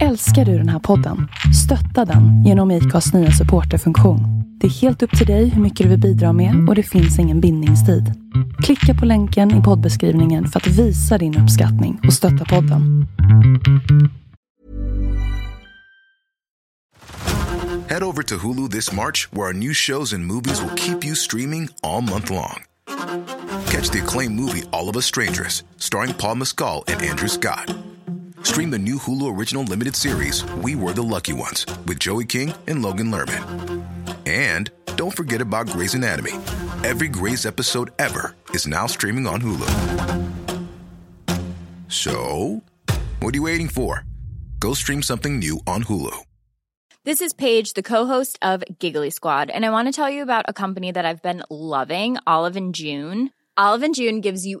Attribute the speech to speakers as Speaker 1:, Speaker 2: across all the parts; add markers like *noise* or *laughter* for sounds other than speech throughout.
Speaker 1: Älskar du den här podden? Stötta den genom IKAs nya supporterfunktion. Det är helt upp till dig hur mycket du vill bidra med och det finns ingen bindningstid. Klicka på länken i poddbeskrivningen för att visa din uppskattning och stötta podden.
Speaker 2: Head over to Hulu this March, where our new shows and movies will keep you streaming all month long. Catch the acclaimed movie All of Us Strangers, starring Paul Mescal and Andrew Scott. Stream the new Hulu original limited series We Were the Lucky Ones with Joey King and Logan Lerman. And don't forget about Grey's Anatomy. Every Grey's episode ever is now streaming on Hulu. So, what are you waiting for? Go stream something new on Hulu.
Speaker 3: This is Paige, the co-host of Giggly Squad, and I want to tell you about a company that I've been loving, Olive and June. Olive and June gives you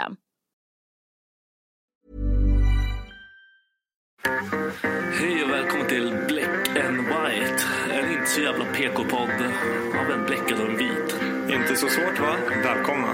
Speaker 4: Hej och välkommen till Black and White. En inte så jävla PK-podd av en bläckad och en vit.
Speaker 5: Inte så svårt va? Välkomna.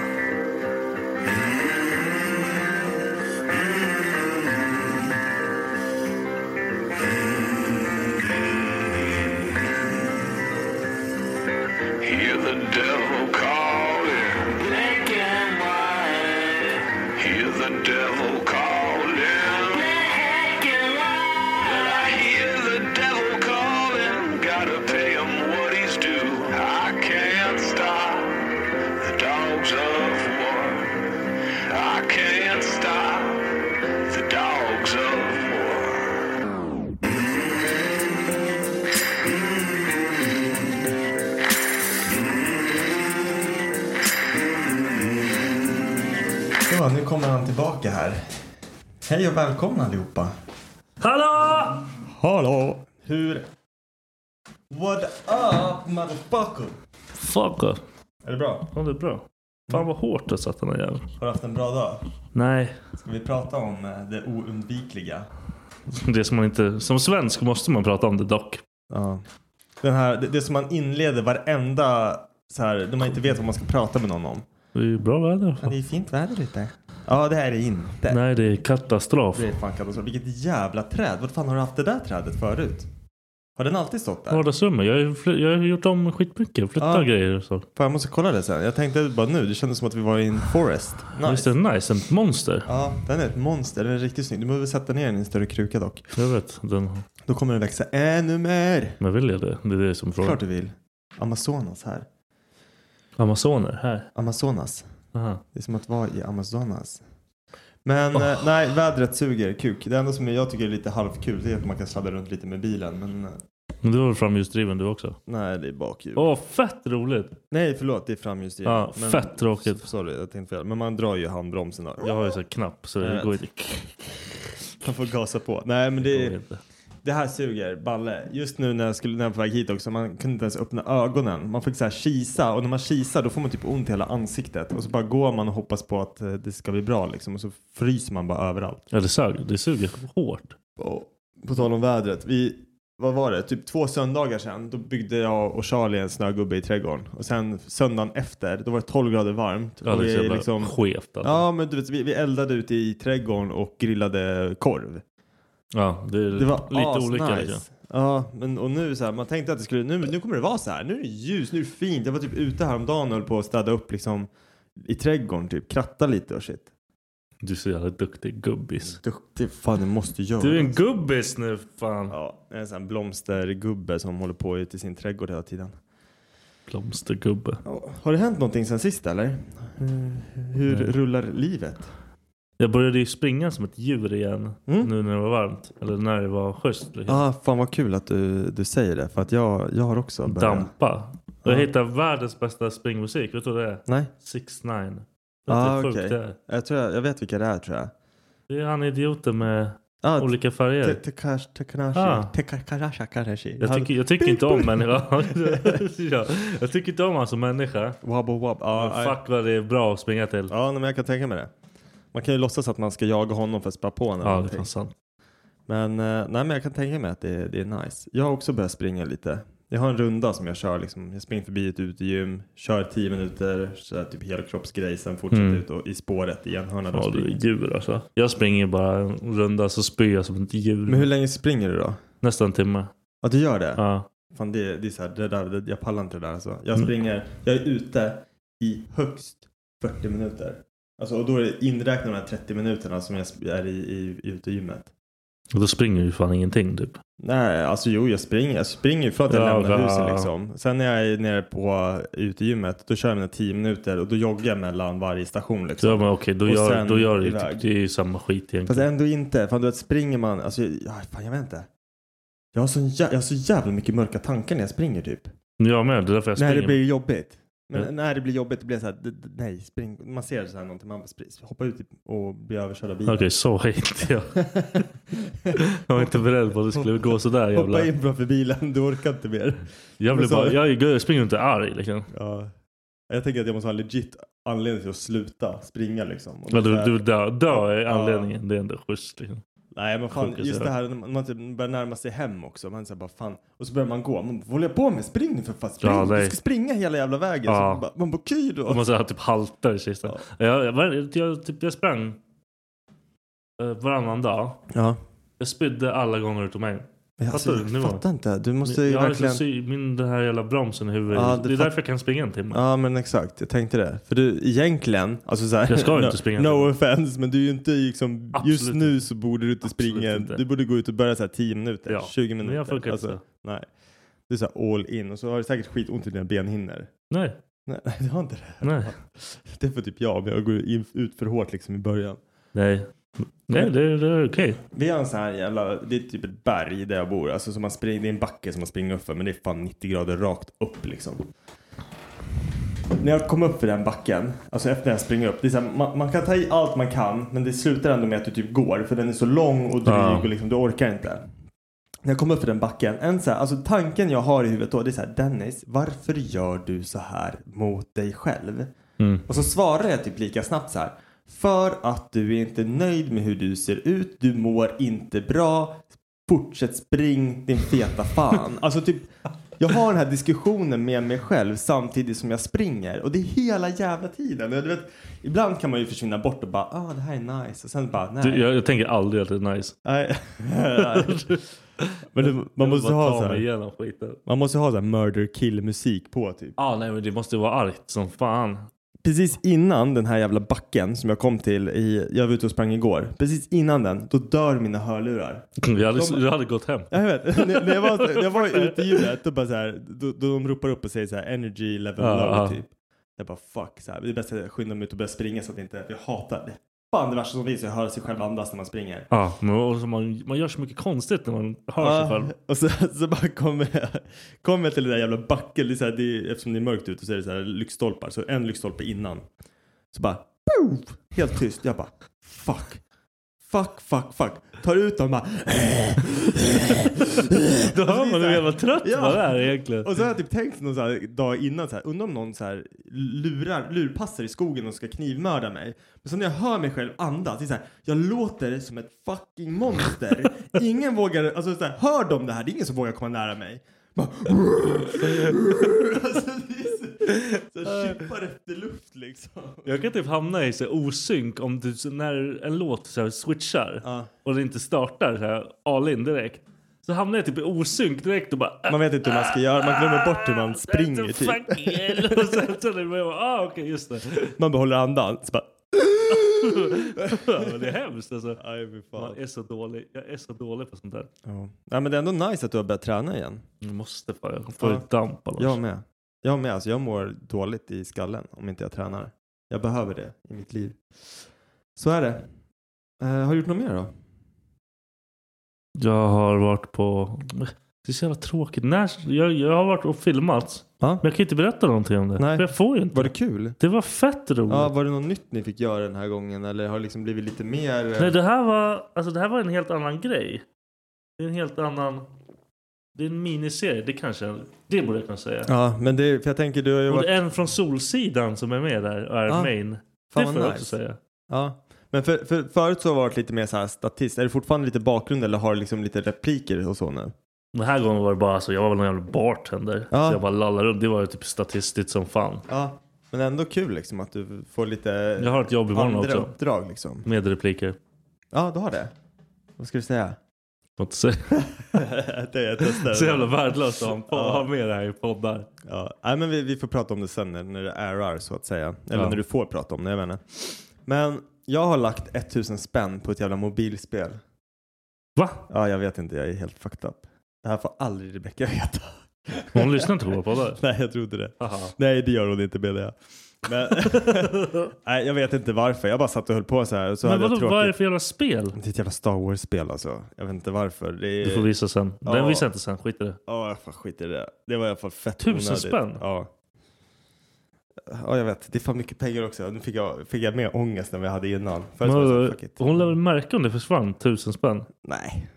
Speaker 6: Hear the devil calling. Black and white. Hear the devil calling. Black and white. I hear the devil calling. Gotta pay him what he's due. I can't stop the dogs of war. I can't stop the dogs of war.
Speaker 7: Ja, nu kommer han tillbaka här. Hej och välkomna allihopa.
Speaker 4: Hallå!
Speaker 7: Hallå. Hur... What up motherfucker?
Speaker 4: Fuck off.
Speaker 7: Är det bra?
Speaker 4: Ja, det är bra. Fan vad hårt du satt den här jäveln.
Speaker 7: Har du haft en bra dag?
Speaker 4: Nej,
Speaker 7: Ska vi prata om eh, det oundvikliga?
Speaker 4: det som man inte... Som svensk måste man prata om det dock.
Speaker 7: Ja. Den här, det, det som man inleder varenda... Så här, då man inte vet vad man ska prata med någon om.
Speaker 4: Det är ju bra väder.
Speaker 7: Ja, det är fint väder ute. Ja, det här är inte.
Speaker 4: Nej, det är katastrof.
Speaker 7: Det är fan katastrof. Vilket jävla träd. Vart fan har du haft det där trädet förut? Har den alltid stått där?
Speaker 4: Vardagsrummet. Jag, har ju fly- jag har gjort om skitmycket. Flyttat
Speaker 5: Ah.
Speaker 7: Ja.
Speaker 4: grejer och så.
Speaker 7: Fan, jag måste kolla det sen. Jag tänkte bara nu, det kändes som att vi var i en forest. Nice.
Speaker 4: Visst är det nice? Ett monster.
Speaker 7: Ja, den är ett monster. Den är riktigt snygg. Du behöver sätta ner den i en större kruka dock.
Speaker 4: Jag vet. Den,
Speaker 7: Då kommer den växa ännu mer.
Speaker 4: men vill jag det? Det är det som är
Speaker 7: Klart
Speaker 4: frågan.
Speaker 7: du vill. Amazonas här.
Speaker 4: Amazoner. Här.
Speaker 7: Amazonas.
Speaker 4: Aha.
Speaker 7: Det är som att vara i Amazonas. Men
Speaker 4: Ah.
Speaker 7: eh, nej, vädret suger kuk. Det enda som jag tycker är lite halvkul det är att man kan sladdra runt lite med bilen. Men eh,
Speaker 4: Men du har väl framhjulsdriven du också?
Speaker 7: nej, det är bakhjul.
Speaker 4: Åh, fett roligt!
Speaker 7: Nej, förlåt. Det är framhjulsdrivet.
Speaker 4: Ja,
Speaker 7: Men-
Speaker 4: fett tråkigt.
Speaker 7: Sorry, jag tänkte fel. Men man drar ju handbromsen då.
Speaker 4: Jag har ju så här knapp så
Speaker 7: Jag
Speaker 4: det
Speaker 7: vet.
Speaker 4: går inte.
Speaker 7: Man får gasa på. Nej, men det
Speaker 4: Jag
Speaker 7: är...
Speaker 4: vet inte.
Speaker 7: Det här suger balle. Just nu när jag, skulle, när jag var på väg hit också, man kunde inte ens öppna ögonen. Man fick så här kisa och när man kisar då får man typ ont i hela ansiktet. Och så bara går man och hoppas på att eh, det ska bli bra liksom. Och så fryser man bara överallt.
Speaker 4: Ja, det suger. Det suger hårt.
Speaker 7: Och på tal om vädret. Vi, vad var det? Typ två söndagar sedan. Då byggde jag och Charlie en snögubbe i trädgården. Och sen söndagen efter, då var det 12 grader varmt.
Speaker 4: Ja,
Speaker 7: och
Speaker 4: det är
Speaker 7: vi
Speaker 4: så jävla skevt. Alltså.
Speaker 7: liksom- Ja, men du vet, vi, vi eldade ute i trädgården och grillade korv.
Speaker 4: Ja, det är
Speaker 7: Det var
Speaker 4: lite olika. liksom.
Speaker 7: Liksom. Ja, men och nu så här, man tänkte att det skulle, nu, nu kommer det vara så här. Nu är det ljus, nu är det fint. Jag var typ ute häromdagen och höll på att städa upp liksom i trädgården, typ kratta lite och shit.
Speaker 4: Du är så jävla duktig gubbis.
Speaker 7: Duktig. Fan, det måste göras.
Speaker 4: Du är en gubbis nu fan.
Speaker 7: Ja, en sån här blomstergubbe som håller på ute i sin trädgård hela tiden.
Speaker 4: Blomstergubbe.
Speaker 7: Ja, Har det hänt någonting sen sist eller? Hur- Hur
Speaker 4: Eh, Nej.
Speaker 7: rullar livet?
Speaker 4: Jag började ju springa som ett djur igen.
Speaker 7: Mm.
Speaker 4: Nu när det var varmt. Eller när det var schysst. Liksom.
Speaker 7: ah, fan vad kul att du, du säger det för att jag, jag har också börjat.
Speaker 4: Dampa.
Speaker 8: Och jag hittade världens bästa springmusik. Vet du vad det är?
Speaker 7: Nej.
Speaker 8: 6 9 Vet du
Speaker 7: Ah,
Speaker 8: hur sjukt
Speaker 7: okej.
Speaker 8: det är?
Speaker 7: Jag, tror jag, jag vet vilka det är tror jag.
Speaker 8: Det är han idioten med
Speaker 7: Ah,
Speaker 8: olika färger.
Speaker 7: Te- Tekash- Tekanashi.
Speaker 8: Ah.
Speaker 7: Tekakarashi, Karashi.
Speaker 8: Jag
Speaker 7: Han-
Speaker 8: tycker, jag tycker inte om
Speaker 7: *laughs*
Speaker 8: människor. *laughs* ja, jag tycker inte om han som människa.
Speaker 7: Wabbo wab. Ja,
Speaker 8: Men
Speaker 7: nej.
Speaker 8: fuck vad det är bra att springa till.
Speaker 7: ja nej, men jag kan tänka mig det. Man kan ju låtsas att man ska jaga honom för att spä på honom. eller
Speaker 8: Ja, det är
Speaker 7: någonting.
Speaker 8: fan sant.
Speaker 7: Men, eh, nej, men jag kan tänka mig att det, det är nice. Jag har också börjat springa lite. Jag har en runda som jag kör. Liksom. Jag springer förbi ett utegym, kör 10 minuter, så här, typ helkroppsgrej, sen fortsätter
Speaker 8: Mm.
Speaker 7: ut och, i spåret igen. Hörna,
Speaker 8: Ja, du är djur alltså. Jag springer bara en runda så spyr jag som ett djur.
Speaker 7: Men hur länge springer du då?
Speaker 8: Nästan en timme.
Speaker 7: Ja, du gör det?
Speaker 8: Ja.
Speaker 7: Fan, det, det är så här, det där, det, jag pallar inte det där alltså. Jag
Speaker 8: Mm.
Speaker 7: springer, jag är ute i högst 40 minuter. Alltså, och då är det inräknat de här 30 minuterna som jag sp- är i, i, i utegymmet.
Speaker 8: Och då springer ju fan ingenting typ.
Speaker 7: Nej, alltså jo, jag springer. Jag springer ju från att jag
Speaker 8: Ja,
Speaker 7: lämnar
Speaker 8: ja,
Speaker 7: huset
Speaker 8: ja.
Speaker 7: liksom. Sen när jag är nere på utegymmet, då kör jag mina 10 minuter och då joggar jag mellan varje station
Speaker 8: Så
Speaker 7: liksom.
Speaker 8: jag bara okej, då,
Speaker 7: Och
Speaker 8: gör,
Speaker 7: sen
Speaker 8: då gör det ju
Speaker 7: iväg.
Speaker 8: typ, det är ju samma skit
Speaker 7: Fast
Speaker 8: egentligen.
Speaker 7: ändå inte. Fan du vet, springer man, alltså, jag, aj, fan jag vet inte. Jag har, så jä- jag har så jävla mycket mörka tankar när jag springer typ.
Speaker 8: Men Jag med, det är därför jag
Speaker 7: när det
Speaker 8: springer.
Speaker 7: blir jobbigt. Men
Speaker 8: Ja.
Speaker 7: när det blir jobbigt, det blir så här, d- d- nej, spring. Man ser så här någonting, man bara spr- hoppar ut typ och blir överkörd av bilen.
Speaker 8: Okej, så hate
Speaker 7: *laughs*
Speaker 8: jag. Jag var inte beredd på att det skulle gå sådär jävla.
Speaker 7: Hoppa in framför bilen, du orkar inte mer.
Speaker 8: Jag, blir
Speaker 7: Men så-
Speaker 8: bara, jag, jag springer inte arg liksom.
Speaker 7: Ja. Jag tänker att jag måste ha en legit anledning till att sluta springa liksom. Och
Speaker 8: Men
Speaker 7: det
Speaker 8: du,
Speaker 7: är-
Speaker 8: du dö, dö är
Speaker 7: Ja.
Speaker 8: anledningen. Det är ändå schysst. Liksom.
Speaker 7: Nej men fan,
Speaker 8: Sjuka
Speaker 7: just
Speaker 8: saker.
Speaker 7: det här när man typ börjar närma sig hem också. Man säger bara fan. Och så börjar man gå. Man bara, vad håller jag på med? Spring nu för fan. Spring.
Speaker 8: Ja,
Speaker 7: du
Speaker 8: nej.
Speaker 7: ska springa hela jävla vägen.
Speaker 8: Ja.
Speaker 7: Så man bara, man bara okej då.
Speaker 8: Och man så här, typ haltar i kistan. Jag, jag, var- jag, typ, jag sprang eh, varannan dag.
Speaker 7: Ja.
Speaker 8: Jag spydde alla gånger utom en.
Speaker 7: Men alltså,
Speaker 8: Fattar du? Nu
Speaker 7: jag
Speaker 8: var-
Speaker 7: fattar inte. Du måste ju
Speaker 8: jag har
Speaker 7: verkligen.
Speaker 8: liksom sy, min den här jävla bromsen i huvudet.
Speaker 7: Ja, det
Speaker 8: det är
Speaker 7: fatt-
Speaker 8: därför jag kan springa en timme.
Speaker 7: Ja men exakt, jag tänkte det. För du egentligen, alltså så här,
Speaker 8: Jag ska ju
Speaker 7: *laughs* no,
Speaker 8: inte springa.
Speaker 7: No offense, men du är ju inte liksom,
Speaker 8: Absolut
Speaker 7: just nu så borde du inte
Speaker 8: Absolut
Speaker 7: springa.
Speaker 8: inte.
Speaker 7: Du borde gå ut och börja så här 10 minuter,
Speaker 8: Ja,
Speaker 7: 20 minuter.
Speaker 8: men jag funkar inte
Speaker 7: Alltså, Nej. Du är så här all in och så har du säkert skitont i dina benhinnor.
Speaker 8: Nej,
Speaker 7: Nej, *laughs* nej, du har inte det.
Speaker 8: nej,
Speaker 7: Det får typ jag, men jag går in, ut för hårt liksom i början.
Speaker 8: nej. Nej, det, det är okej.
Speaker 7: Vi har en sån här jävla, det är typ ett berg där jag bor. Alltså som man springer, det är en backe som man springer upp för men det är fan 90 grader rakt upp liksom. När jag kom upp för den backen, alltså efter när jag springer upp, det är så här, man, man kan ta i allt man kan men det slutar ändå med att du typ går för den är så lång och dryg
Speaker 8: Ja.
Speaker 7: och liksom, du orkar inte. När jag kom upp för den backen, en så här, alltså tanken jag har i huvudet då det är så här Dennis, varför gör du så här mot dig själv?
Speaker 8: Mm.
Speaker 7: Och så svarar jag typ lika snabbt så här. För att du är inte nöjd med hur du ser ut. Du mår inte bra. Fortsätt spring din feta *laughs* fan. alltså typ. Jag har den här diskussionen med mig själv samtidigt som jag springer. Och det är hela jävla tiden. Och Du vet, ibland kan man ju försvinna bort och bara ah det här är nice. Och sen bara nej.
Speaker 8: Du, jag, jag tänker aldrig att det är nice.
Speaker 7: nej. *laughs* Men du, man måste
Speaker 8: jag bara
Speaker 7: ha
Speaker 8: tar
Speaker 7: så
Speaker 8: mig
Speaker 7: här.
Speaker 8: igenom skiten.
Speaker 7: Man måste ha så här murder kill musik på typ.
Speaker 8: Ah, nej, men det måste ju vara argt som fan.
Speaker 7: Precis innan den här jävla backen som jag kom till i, jag var ute och sprang igår. Precis innan den, då dör mina hörlurar.
Speaker 8: Jag hade,
Speaker 7: De-
Speaker 8: jag hade gått hem.
Speaker 7: Jag vet, *laughs* när när jag var, när jag var ute i gymmet, då bara så här, då, då de ropar upp och säger så här energy level
Speaker 8: Ja,
Speaker 7: low
Speaker 8: ja.
Speaker 7: typ. Jag bara fuck, så här, det är bäst att jag skyndar mig ut och börjar springa så att inte, jag hatar det. Fan det värsta som finns är att höra sig själv andas när man springer.
Speaker 8: Ja, men och så man, man gör så mycket konstigt när man hör sig
Speaker 7: Ja,
Speaker 8: själv.
Speaker 7: *laughs* och så, så bara kommer jag, kom jag till det där jävla backen. Det är så här, det är, eftersom det är mörkt ute så är det så här lyktstolpar. Så en lyktstolpe innan. Så bara poof, helt tyst. Jag bara fuck. Fuck, fuck, fuck. Tar ut dem bara. *laughs*
Speaker 8: Då
Speaker 7: Alltså, det är så
Speaker 8: hör man hur
Speaker 7: här-
Speaker 8: jävla trött
Speaker 7: Ja.
Speaker 8: man är egentligen.
Speaker 7: Och så har jag typ tänkt någon så här dag innan så här, undrar om någon så här lurar, lurpassar i skogen och ska knivmörda mig. Men sen när jag hör mig själv andas, det är så här, jag låter som ett fucking monster.
Speaker 8: *laughs*
Speaker 7: Ingen vågar, alltså så här, hör de det här, det är ingen som vågar komma nära mig. Bara, *laughs* alltså, det är så, så jag kippar efter luft liksom.
Speaker 8: Jag kan typ hamna i så här osynk om du, så när en låt så här switchar
Speaker 7: Ja.
Speaker 8: och den inte startar så här all in direkt. Så hamnar jag typ i osynk direkt och bara...
Speaker 7: Man vet inte hur man ska göra, man glömmer bort hur man springer
Speaker 8: typ.
Speaker 7: typ.
Speaker 8: Fuck hell. och sen, sen är det bara, ah okej just det.
Speaker 7: Man behåller andan. Så bara,
Speaker 8: *laughs* Ja, men det är hemskt alltså.
Speaker 7: Aj, fy fan.
Speaker 8: Man är så dålig. Jag är så dålig på sånt där.
Speaker 7: Ja. Nej, men det är ändå nice att du har börjat träna igen.
Speaker 8: Jag måste fan, jag får
Speaker 7: Ja.
Speaker 8: ja. damp annars.
Speaker 7: Jag med. Jag med. Alltså jag mår dåligt i skallen om inte jag tränar. Jag behöver det i mitt liv. Så är det. Eh, har du gjort något mer då?
Speaker 8: Jag har varit på... Det är så jävla tråkigt. När, jag, jag har varit och filmat.
Speaker 7: Ja.
Speaker 8: Men jag kan inte berätta någonting om det.
Speaker 7: Nej.
Speaker 8: För jag får ju inte.
Speaker 7: Var det kul?
Speaker 8: Det var fett roligt.
Speaker 7: Ja, var det något nytt ni fick göra den här gången eller har det liksom blivit lite mer? eh,
Speaker 8: Nej, det här, var, alltså, det här var en helt annan grej. Det är en helt annan... Det är en miniserie, det kanske Det borde jag kunna säga.
Speaker 7: Ja, men det, för jag tänker du har ju
Speaker 8: Och det
Speaker 7: varit...
Speaker 8: är en från Solsidan som är med där och är
Speaker 7: Ja.
Speaker 8: main.
Speaker 7: Fan
Speaker 8: det
Speaker 7: vad
Speaker 8: får jag
Speaker 7: nice.
Speaker 8: också säga.
Speaker 7: Ja. Men för, för, förut så har det varit lite mer så här statist. Är det fortfarande lite bakgrund eller har du liksom lite repliker och så nu?
Speaker 8: Den här gången var det bara alltså, jag var väl någon jävla bartender.
Speaker 7: Ja.
Speaker 8: Så jag bara lallade runt. Det var ju typ statistiskt som fan.
Speaker 7: Ja. Men ändå kul liksom att du får lite
Speaker 8: Jag har ett jobb imorgon
Speaker 7: andra
Speaker 8: också.
Speaker 7: uppdrag liksom.
Speaker 8: Med repliker.
Speaker 7: Ja, du har det. Vad ska du
Speaker 8: *laughs*
Speaker 7: säga?
Speaker 8: Får inte säga.
Speaker 7: det jag testar.
Speaker 8: Så jävla värdelöst att ha en podd-
Speaker 7: Ja.
Speaker 8: ha med det här i poddar.
Speaker 7: Ja, nej, men vi, vi får prata om det sen när, när det ärar så att säga. Eller
Speaker 8: Ja.
Speaker 7: när du får prata om det, jag menar. Men jag har lagt 1000 spänn på ett jävla mobilspel.
Speaker 8: Va?
Speaker 7: Ja, jag vet inte, jag är helt fucked up. Det här får aldrig Rebecca veta.
Speaker 8: Hon lyssnar inte på våra poddar.
Speaker 7: *laughs* Nej, jag trodde det.
Speaker 8: Haha.
Speaker 7: Nej, det gör hon inte menar jag.
Speaker 8: *laughs*
Speaker 7: Men, nej, jag vet inte varför. Jag bara satt och höll på så här. och Så
Speaker 8: Men
Speaker 7: hade
Speaker 8: vadå,
Speaker 7: jag
Speaker 8: vad är det
Speaker 7: tråkigt.
Speaker 8: för jävla spel?
Speaker 7: det är ett jävla Star Wars-spel alltså. Jag vet inte varför. Det är...
Speaker 8: Du får visa sen. Den
Speaker 7: Ja.
Speaker 8: visar jag inte sen, skit i det.
Speaker 7: Ja, fan skit i det. Det var i alla fall fett
Speaker 8: Tusen
Speaker 7: onödigt.
Speaker 8: spänn?
Speaker 7: Ja. Ja, jag vet. Det är fan mycket pengar också. Nu fick jag, fick jag mer ångest än vad jag hade innan. Förut
Speaker 8: Men,
Speaker 7: var jag så här,
Speaker 8: eh,
Speaker 7: fuck it.
Speaker 8: hon lär väl märka om det försvann tusen spänn.
Speaker 7: Nej.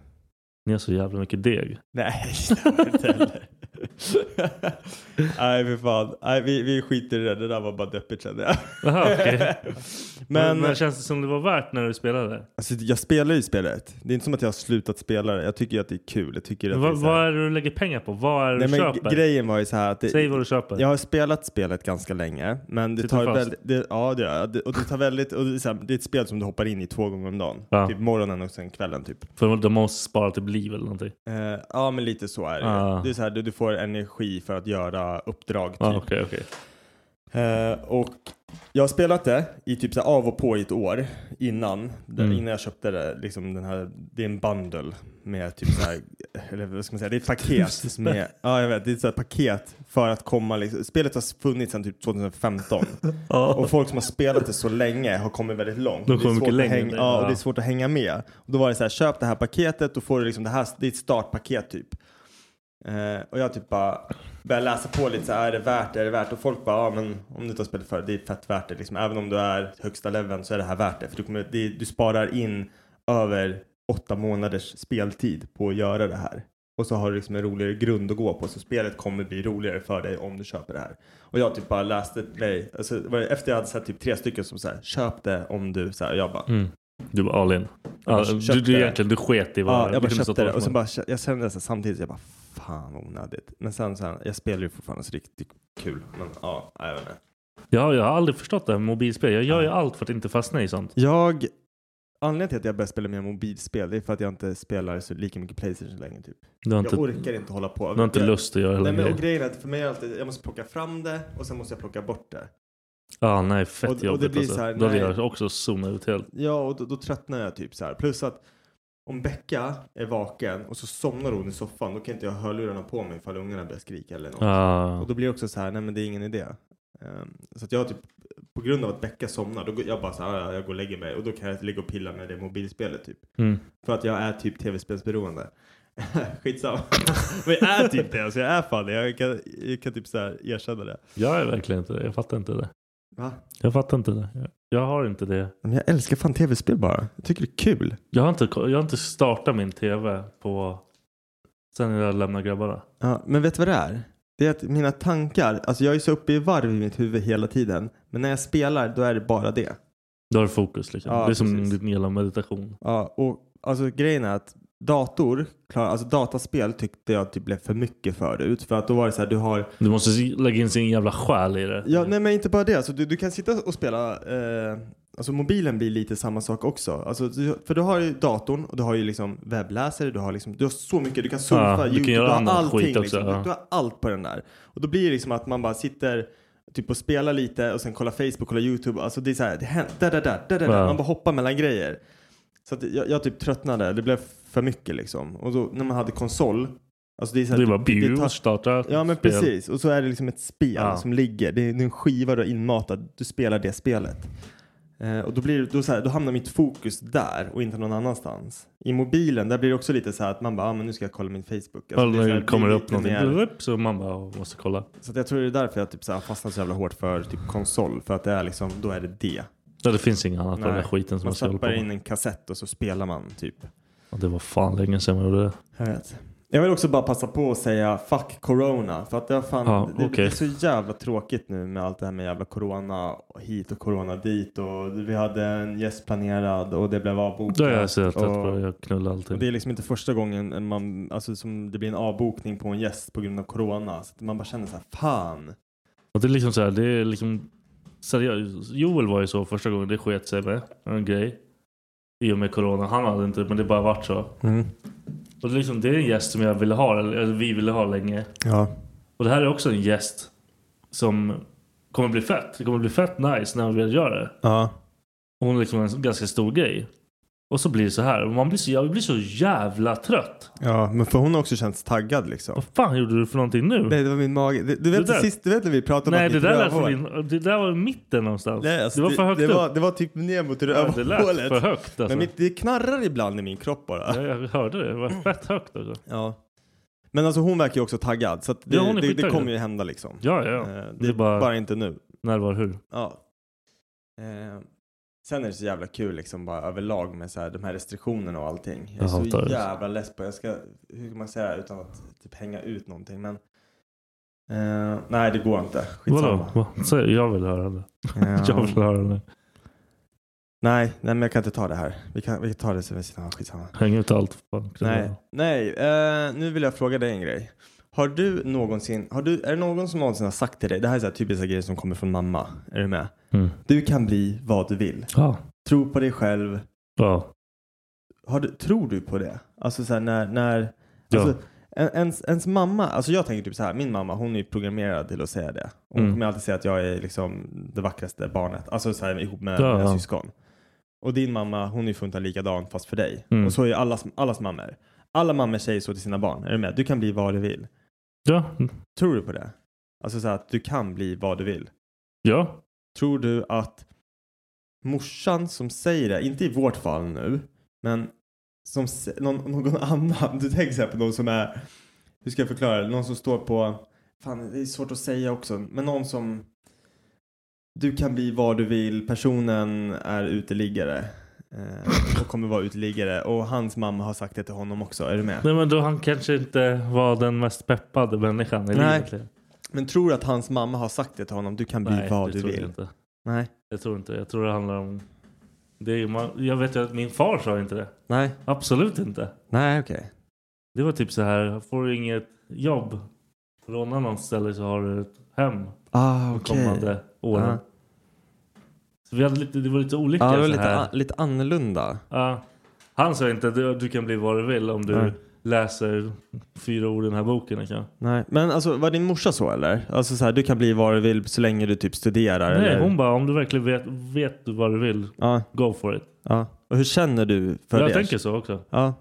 Speaker 8: Ni har så jävla mycket deg.
Speaker 7: *laughs* Nej, det var inte
Speaker 8: *laughs*
Speaker 7: heller. Nej, för fan. Nej, vi, vi skiter i det. Det där var bara deppigt kände jag.
Speaker 8: Aha,
Speaker 7: *laughs*
Speaker 8: *laughs* okej. men,
Speaker 7: Men
Speaker 8: men känns det som det var värt när du spelade?
Speaker 7: alltså, jag spelar ju spelet. Det är inte som att jag har slutat spela det. Jag tycker ju att det är kul. Jag tycker att
Speaker 8: Men vad,
Speaker 7: det är så här-
Speaker 8: vad är det du lägger pengar på? Vad är det du
Speaker 7: Nej, men
Speaker 8: köper?
Speaker 7: Grejen var ju så här att det,
Speaker 8: Säg vad du köper.
Speaker 7: Jag har spelat spelet ganska länge, men det
Speaker 8: Sitter
Speaker 7: tar
Speaker 8: fast.
Speaker 7: väldigt, det, ja det gör jag. Det- och det tar väldigt, och det, är så här, det är ett spel som du hoppar in i två gånger om dagen.
Speaker 8: Ja.
Speaker 7: Typ morgonen och sen kvällen typ.
Speaker 8: För de måste spara typ liv eller någonting.
Speaker 7: Eh, ja men lite så är det
Speaker 8: Ah.
Speaker 7: ju. Det är så här, du, du får energi för att göra uppdrag typ.
Speaker 8: Ja, okej, okej.
Speaker 7: Eh, och jag har spelat det i typ så här av och på i ett år innan. Där,
Speaker 8: Mm.
Speaker 7: Innan jag köpte det, liksom den här, det är en bundle med typ så här, eller vad ska man säga, det är ett paket. Med, ja jag vet, det är ett så här paket för att komma liksom, spelet har funnits sedan typ 2015.
Speaker 8: *laughs* Ja.
Speaker 7: Och folk som har spelat det så länge har kommit väldigt långt.
Speaker 8: De
Speaker 7: Det är svårt
Speaker 8: kommer mycket
Speaker 7: att
Speaker 8: längre
Speaker 7: hänga-
Speaker 8: än dig.
Speaker 7: Ja,
Speaker 8: Ja.
Speaker 7: och det är svårt att hänga med. Och då var det så här, köp det här paketet, då får du liksom det här, det är ett startpaket typ. Eh, och jag typ bara började läsa på lite så här, är det värt det, är det värt det? Och folk bara, ja men om du inte har spelat förut, det är fett värt det liksom. Även om du är högsta leveln så är det här värt det. För du, kommer, det, du sparar in över åtta månaders speltid på att göra det här. Och så har du liksom en roligare grund att gå på. Så spelet kommer bli roligare för dig om du köper det här. Och jag typ bara läste, nej, alltså, det var- efter jag hade sett typ tre stycken som så här, köp det om du, så här, och jag bara,
Speaker 8: Mm. Du var all in.
Speaker 7: bara
Speaker 8: Ja,
Speaker 7: köpte
Speaker 8: du, du,
Speaker 7: det.
Speaker 8: egentligen, du sket i vad
Speaker 7: ja, jag
Speaker 8: du
Speaker 7: bara
Speaker 8: kunde
Speaker 7: köpte
Speaker 8: stått
Speaker 7: det. Och
Speaker 8: och-
Speaker 7: sen bara, jag kände så här, samtidigt, jag bara, fan vad onödigt. Men sen så här, jag spelar ju fortfarande så riktigt kul. Men ja, jag vet inte.
Speaker 8: Ja, jag har aldrig förstått det här med mobilspel. Jag gör ju allt för att inte fastna i sånt.
Speaker 7: Jag, anledningen till att jag börjar spela mer mobilspel, det är för att jag inte spelar så lika mycket Playstation längre typ.
Speaker 8: Du har inte,
Speaker 7: Jag orkar inte hålla på.
Speaker 8: du har inte
Speaker 7: jag,
Speaker 8: lust att göra
Speaker 7: Nej,
Speaker 8: hela
Speaker 7: men, och
Speaker 8: grejen.
Speaker 7: grejen är att för mig är det alltid, jag måste plocka fram det och sen måste jag plocka bort det.
Speaker 8: Ja, Ah, nej, fett
Speaker 7: Och- och det
Speaker 8: jobbigt
Speaker 7: blir
Speaker 8: alltså.
Speaker 7: så här,
Speaker 8: Då hade
Speaker 7: nej.
Speaker 8: jag också zonat ut helt.
Speaker 7: Ja, och då, då tröttnar jag typ så här. Plus att om Becka är vaken och så somnar hon i soffan, då kan inte jag ha hörlurarna på mig ifall ungarna börjar skrika eller något.
Speaker 8: Ja.
Speaker 7: Och då blir det också så här, nej men det är ingen idé. Ehm, så att jag typ, på grund av att Becka somnar, då går jag bara så här, "Ah, "Ja, jag går och lägger mig och då kan jag ligga och pilla med det mobilspelet typ.
Speaker 8: Mm.
Speaker 7: För att jag är typ tv-spelsberoende. *laughs* Skitsamma. *laughs* men jag är typ det, alltså jag är fan det. Jag kan, jag kan typ så här erkänna det.
Speaker 8: Jag är verkligen inte det. Jag fattar inte det.
Speaker 7: Va?
Speaker 8: Jag fattar inte det. Jag- Jag har inte det.
Speaker 7: Men jag älskar fan tv-spel bara. Jag tycker det är kul.
Speaker 8: Jag har inte, jag har inte startat min tv på... Sen när jag lämnade grabbarna.
Speaker 7: Ja, men vet du vad det är? Det är att mina tankar, alltså jag är så uppe i varv i mitt huvud hela tiden. Men när jag spelar då är det bara det.
Speaker 8: Då har du fokus liksom.
Speaker 7: Ja,
Speaker 8: det är som
Speaker 7: precis.
Speaker 8: din hela meditation.
Speaker 7: Ja, och alltså grejen är att dator, klar, alltså dataspel tyckte jag typ blev för mycket förut. För att då var det så här, du har,
Speaker 8: Du måste si- lägga in sin jävla själ i det.
Speaker 7: ja nej men inte bara det, alltså du, du kan sitta och spela, eh, alltså mobilen blir lite samma sak också. Alltså, du- för du har ju datorn och du har ju liksom webbläsare, du har liksom, du har så mycket, du kan surfa,
Speaker 8: Ja, du kan
Speaker 7: YouTube,
Speaker 8: göra
Speaker 7: du har
Speaker 8: annan
Speaker 7: allting.
Speaker 8: skit också,
Speaker 7: liksom.
Speaker 8: ja.
Speaker 7: du, du har allt på den där. Och då blir det liksom att man bara sitter Typ och spelar lite och sen kollar Facebook, kollar YouTube. Alltså det är så här, det händer, där, där, där, där, där.
Speaker 8: Ja.
Speaker 7: Man bara hoppar mellan grejer. Så att jag, jag typ tröttnade. Det blev för mycket liksom. Och då när man hade konsol. Alltså det är så här,
Speaker 8: Det var
Speaker 7: det
Speaker 8: bio,
Speaker 7: tar-
Speaker 8: starta,
Speaker 7: Ja men
Speaker 8: spel.
Speaker 7: precis. Och så är det liksom ett spel
Speaker 8: Ja.
Speaker 7: som ligger. Det är en skiva du har inmatad. Du spelar det spelet. Eh, och då, blir, det- då, så här, då hamnar mitt fokus där och inte någon annanstans. I mobilen där blir det också lite så här att man bara, ah, men nu ska jag kolla min Facebook. Alltså, det är så här,
Speaker 8: Eller
Speaker 7: det
Speaker 8: kommer det
Speaker 7: blir
Speaker 8: upp
Speaker 7: lite
Speaker 8: någonting.
Speaker 7: mer-
Speaker 8: Blup, Så man bara "Åh, måste kolla.
Speaker 7: Så att jag tror det är därför jag typ så här har fastnat så jävla hårt för typ konsol. För att det är liksom, då är det det.
Speaker 8: Nej, det finns inget annat av den
Speaker 7: Nej.
Speaker 8: där skiten som
Speaker 7: Man
Speaker 8: man ska hålla på
Speaker 7: stoppar in
Speaker 8: med.
Speaker 7: en kassett och så spelar man typ.
Speaker 8: Och Det var fan länge sedan man gjorde det.
Speaker 7: Jag vet. Jag vill också bara passa på att säga fuck corona. För att det, har fan,
Speaker 8: Ja,
Speaker 7: det, det
Speaker 8: okej.
Speaker 7: är så jävla tråkigt nu med allt det här med jävla corona hit och corona dit. Och vi hade en gäst planerad och det blev avbokat.
Speaker 8: Då är jag så jävla trött
Speaker 7: och-
Speaker 8: på det. Jag knullar
Speaker 7: Och
Speaker 8: alltid.
Speaker 7: det är liksom inte första gången man, alltså, som det blir en avbokning på en gäst på grund av corona. Så att man bara känner så här, fan.
Speaker 8: Och det är liksom så här, det är liksom seriöst. Joel var ju så första gången det sket sig med en grej. I och med corona. Han hade inte men det bara vart så. Och det är liksom, det är en gäst som jag ville ha, eller eller vi ville ha länge.
Speaker 7: Ja.
Speaker 8: Och det här är också en gäst som kommer bli fett. Det kommer bli fett nice när vi väl gör det.
Speaker 7: Ja.
Speaker 8: Och hon är liksom en ganska stor grej. Och så blir det så här. Och man blir så, jag blir så jävla trött.
Speaker 7: Ja, men för hon har också känts taggad liksom.
Speaker 8: Vad fan gjorde du för någonting nu?
Speaker 7: Nej, det var min mage. Du, du, vet,
Speaker 8: Det där-
Speaker 7: sist, du vet när vi pratade om
Speaker 8: Nej,
Speaker 7: att
Speaker 8: det
Speaker 7: mitt
Speaker 8: där, lät
Speaker 7: rövhål-
Speaker 8: från din, det där var i mitten någonstans.
Speaker 7: Nej, alltså,
Speaker 8: det var för högt
Speaker 7: det,
Speaker 8: upp.
Speaker 7: Var, det var typ ner mot
Speaker 8: ja, det lät
Speaker 7: rövhålet.
Speaker 8: för högt alltså.
Speaker 7: Men mitt, det knarrar ibland i min kropp bara.
Speaker 8: Ja, jag hörde det. Det var fett högt alltså. också.
Speaker 7: Ja. Men alltså hon verkar ju också taggad. Så att det,
Speaker 8: Ja, hon är
Speaker 7: det, det
Speaker 8: skittaggad.
Speaker 7: kommer ju hända liksom.
Speaker 8: Ja, ja.
Speaker 7: Eh,
Speaker 8: ja.
Speaker 7: Det är bara... inte nu.
Speaker 8: när, var, hur.
Speaker 7: Ja. Eh, Sen är det så jävla kul liksom bara överlag med så här, de här restriktionerna och allting. Jag
Speaker 8: Jag
Speaker 7: är
Speaker 8: hatar
Speaker 7: så
Speaker 8: det.
Speaker 7: jävla less på, jag ska, hur ska man säga utan att typ hänga ut någonting men. Eh, nej det går inte,
Speaker 8: Vadå?
Speaker 7: skitsamma.
Speaker 8: Va? Säg, jag vill höra det. *laughs*
Speaker 7: Eh,
Speaker 8: Jag vill höra det.
Speaker 7: nej, nej men jag kan inte ta det här. Vi kan, vi kan ta det sen, ja, skitsamma.
Speaker 8: Häng ut allt. Fan.
Speaker 7: Nej, nej eh, nu vill jag fråga dig en grej. Har du någonsin, har du, är det någon som någonsin har sagt till dig, det här är så här typiska grejer som kommer från mamma, är du med?
Speaker 8: Mm.
Speaker 7: Du kan bli vad du vill.
Speaker 8: Ja.
Speaker 7: Tro på dig själv,
Speaker 8: Ja.
Speaker 7: Har du, tror du på det? Alltså så här, när, när
Speaker 8: Ja.
Speaker 7: alltså, en- ens, ens mamma, alltså jag tänker typ så här, min mamma hon är ju programmerad till att säga det. Hon
Speaker 8: Mm.
Speaker 7: kommer alltid säga att jag är liksom det vackraste barnet, alltså så här ihop med
Speaker 8: Ja,
Speaker 7: mina
Speaker 8: ja.
Speaker 7: syskon. Och din mamma hon är ju funtan likadan fast för dig.
Speaker 8: Mm.
Speaker 7: Och så är ju allas, allas mammor. Alla mammor säger så till sina barn, är du med? Du kan bli vad du vill.
Speaker 8: Ja.
Speaker 7: Tror du på det? Alltså så här, att du kan bli vad du vill.
Speaker 8: ja.
Speaker 7: Tror du att morsan som säger det, inte i vårt fall nu, men som se- någon, någon annan, du tänker så här på någon som är, hur ska jag förklara det, någon som står på, fan det är svårt att säga också, men någon som du kan bli vad du vill, personen är uteliggare eh, och kommer vara uteliggare och hans mamma har sagt det till honom också, är du med?
Speaker 8: Nej men då han kanske inte var den mest peppade människan i
Speaker 7: Nej.
Speaker 8: livet.
Speaker 7: Men tror du att hans mamma har sagt det till honom, du kan bli vad
Speaker 8: det
Speaker 7: du
Speaker 8: tror
Speaker 7: vill?
Speaker 8: jag inte.
Speaker 7: Nej.
Speaker 8: Jag tror inte. Jag tror det handlar om... Det är, ju- man, jag vet ju att min far sa inte det.
Speaker 7: Nej.
Speaker 8: Absolut inte.
Speaker 7: Nej, okej.
Speaker 8: Det var typ så här. Får du inget jobb. Låna något ställe så har du ett hem.
Speaker 7: Ah,
Speaker 8: de
Speaker 7: okej.
Speaker 8: Kommande åren.
Speaker 7: Ja.
Speaker 8: Så vi hade lite, det var lite olika.
Speaker 7: Ja, det var
Speaker 8: så
Speaker 7: lite,
Speaker 8: här.
Speaker 7: a- lite annorlunda.
Speaker 8: Ja. Han sa inte att du, du kan bli vad du vill om du
Speaker 7: Nej.
Speaker 8: läser fyra ord i den här boken. liksom." Kan.
Speaker 7: Nej. Men alltså, var din morsa så eller? Alltså så här, du kan bli vad du vill så länge du typ studerar?
Speaker 8: Nej,
Speaker 7: eller?
Speaker 8: hon bara om du verkligen vet, vet du vad du vill,
Speaker 7: Ja,
Speaker 8: go for it.
Speaker 7: ja. Och hur känner du för
Speaker 8: jag
Speaker 7: det?
Speaker 8: tänker så också.
Speaker 7: Ja.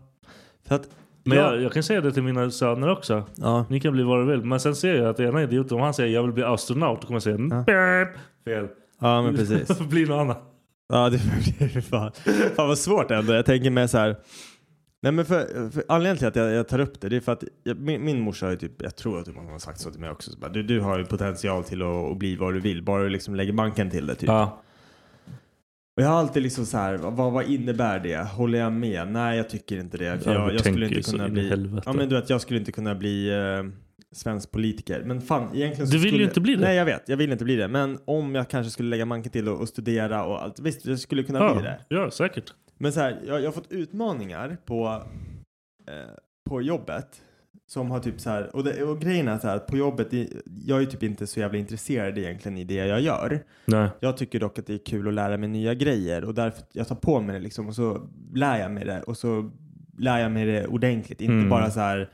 Speaker 7: För att...
Speaker 8: Men
Speaker 7: ja.
Speaker 8: jag, jag kan säga det till mina söner också.
Speaker 7: Ja.
Speaker 8: Ni kan bli vad du vill. Men sen ser jag att ena idioten, om han säger jag vill bli astronaut, då kommer jag säga
Speaker 7: Ja.
Speaker 8: "Beep." fel.
Speaker 7: ja, men precis.
Speaker 8: *laughs* bli något annat.
Speaker 7: Ja, det är fan, fan vad svårt ändå. Jag tänker med så här. Nej, men för, för anledningen till att jag, jag tar upp det, det är för att jag, min, min morsa har ju typ, jag tror att typ hon har sagt så till mig också. Så bara, du, du har ju potential till att, att bli vad du vill, bara du liksom lägger banken till det typ.
Speaker 8: Ja.
Speaker 7: Och jag har alltid liksom så här, vad, vad innebär det? Håller jag med? Nej, jag tycker inte det. För
Speaker 8: Ja,
Speaker 7: jag,
Speaker 8: du
Speaker 7: jag skulle
Speaker 8: tänker ju
Speaker 7: inte
Speaker 8: så
Speaker 7: kunna
Speaker 8: in i
Speaker 7: bli...
Speaker 8: helvete.
Speaker 7: Ja, men du vet, jag skulle inte kunna bli eh, svensk politiker. Men fan, egentligen så
Speaker 8: Du vill ju
Speaker 7: skulle,
Speaker 8: inte bli det.
Speaker 7: Nej, jag vet. Jag vill inte bli det. Men om jag kanske skulle lägga manken till och, och studera och allt. Visst, jag skulle kunna bli
Speaker 8: Ja,
Speaker 7: det.
Speaker 8: ja, säkert.
Speaker 7: Men så här, jag, jag har fått utmaningar på, eh, på jobbet. Som har typ så här, och, det, och grejen är så här, att på jobbet, i- jag är typ inte så jävla intresserad egentligen i det jag gör.
Speaker 8: Nej.
Speaker 7: Jag tycker dock att det är kul att lära mig nya grejer och därför jag tar på mig det liksom och så lär jag mig det och så lär jag mig det ordentligt. Inte
Speaker 8: Mm.
Speaker 7: bara så här,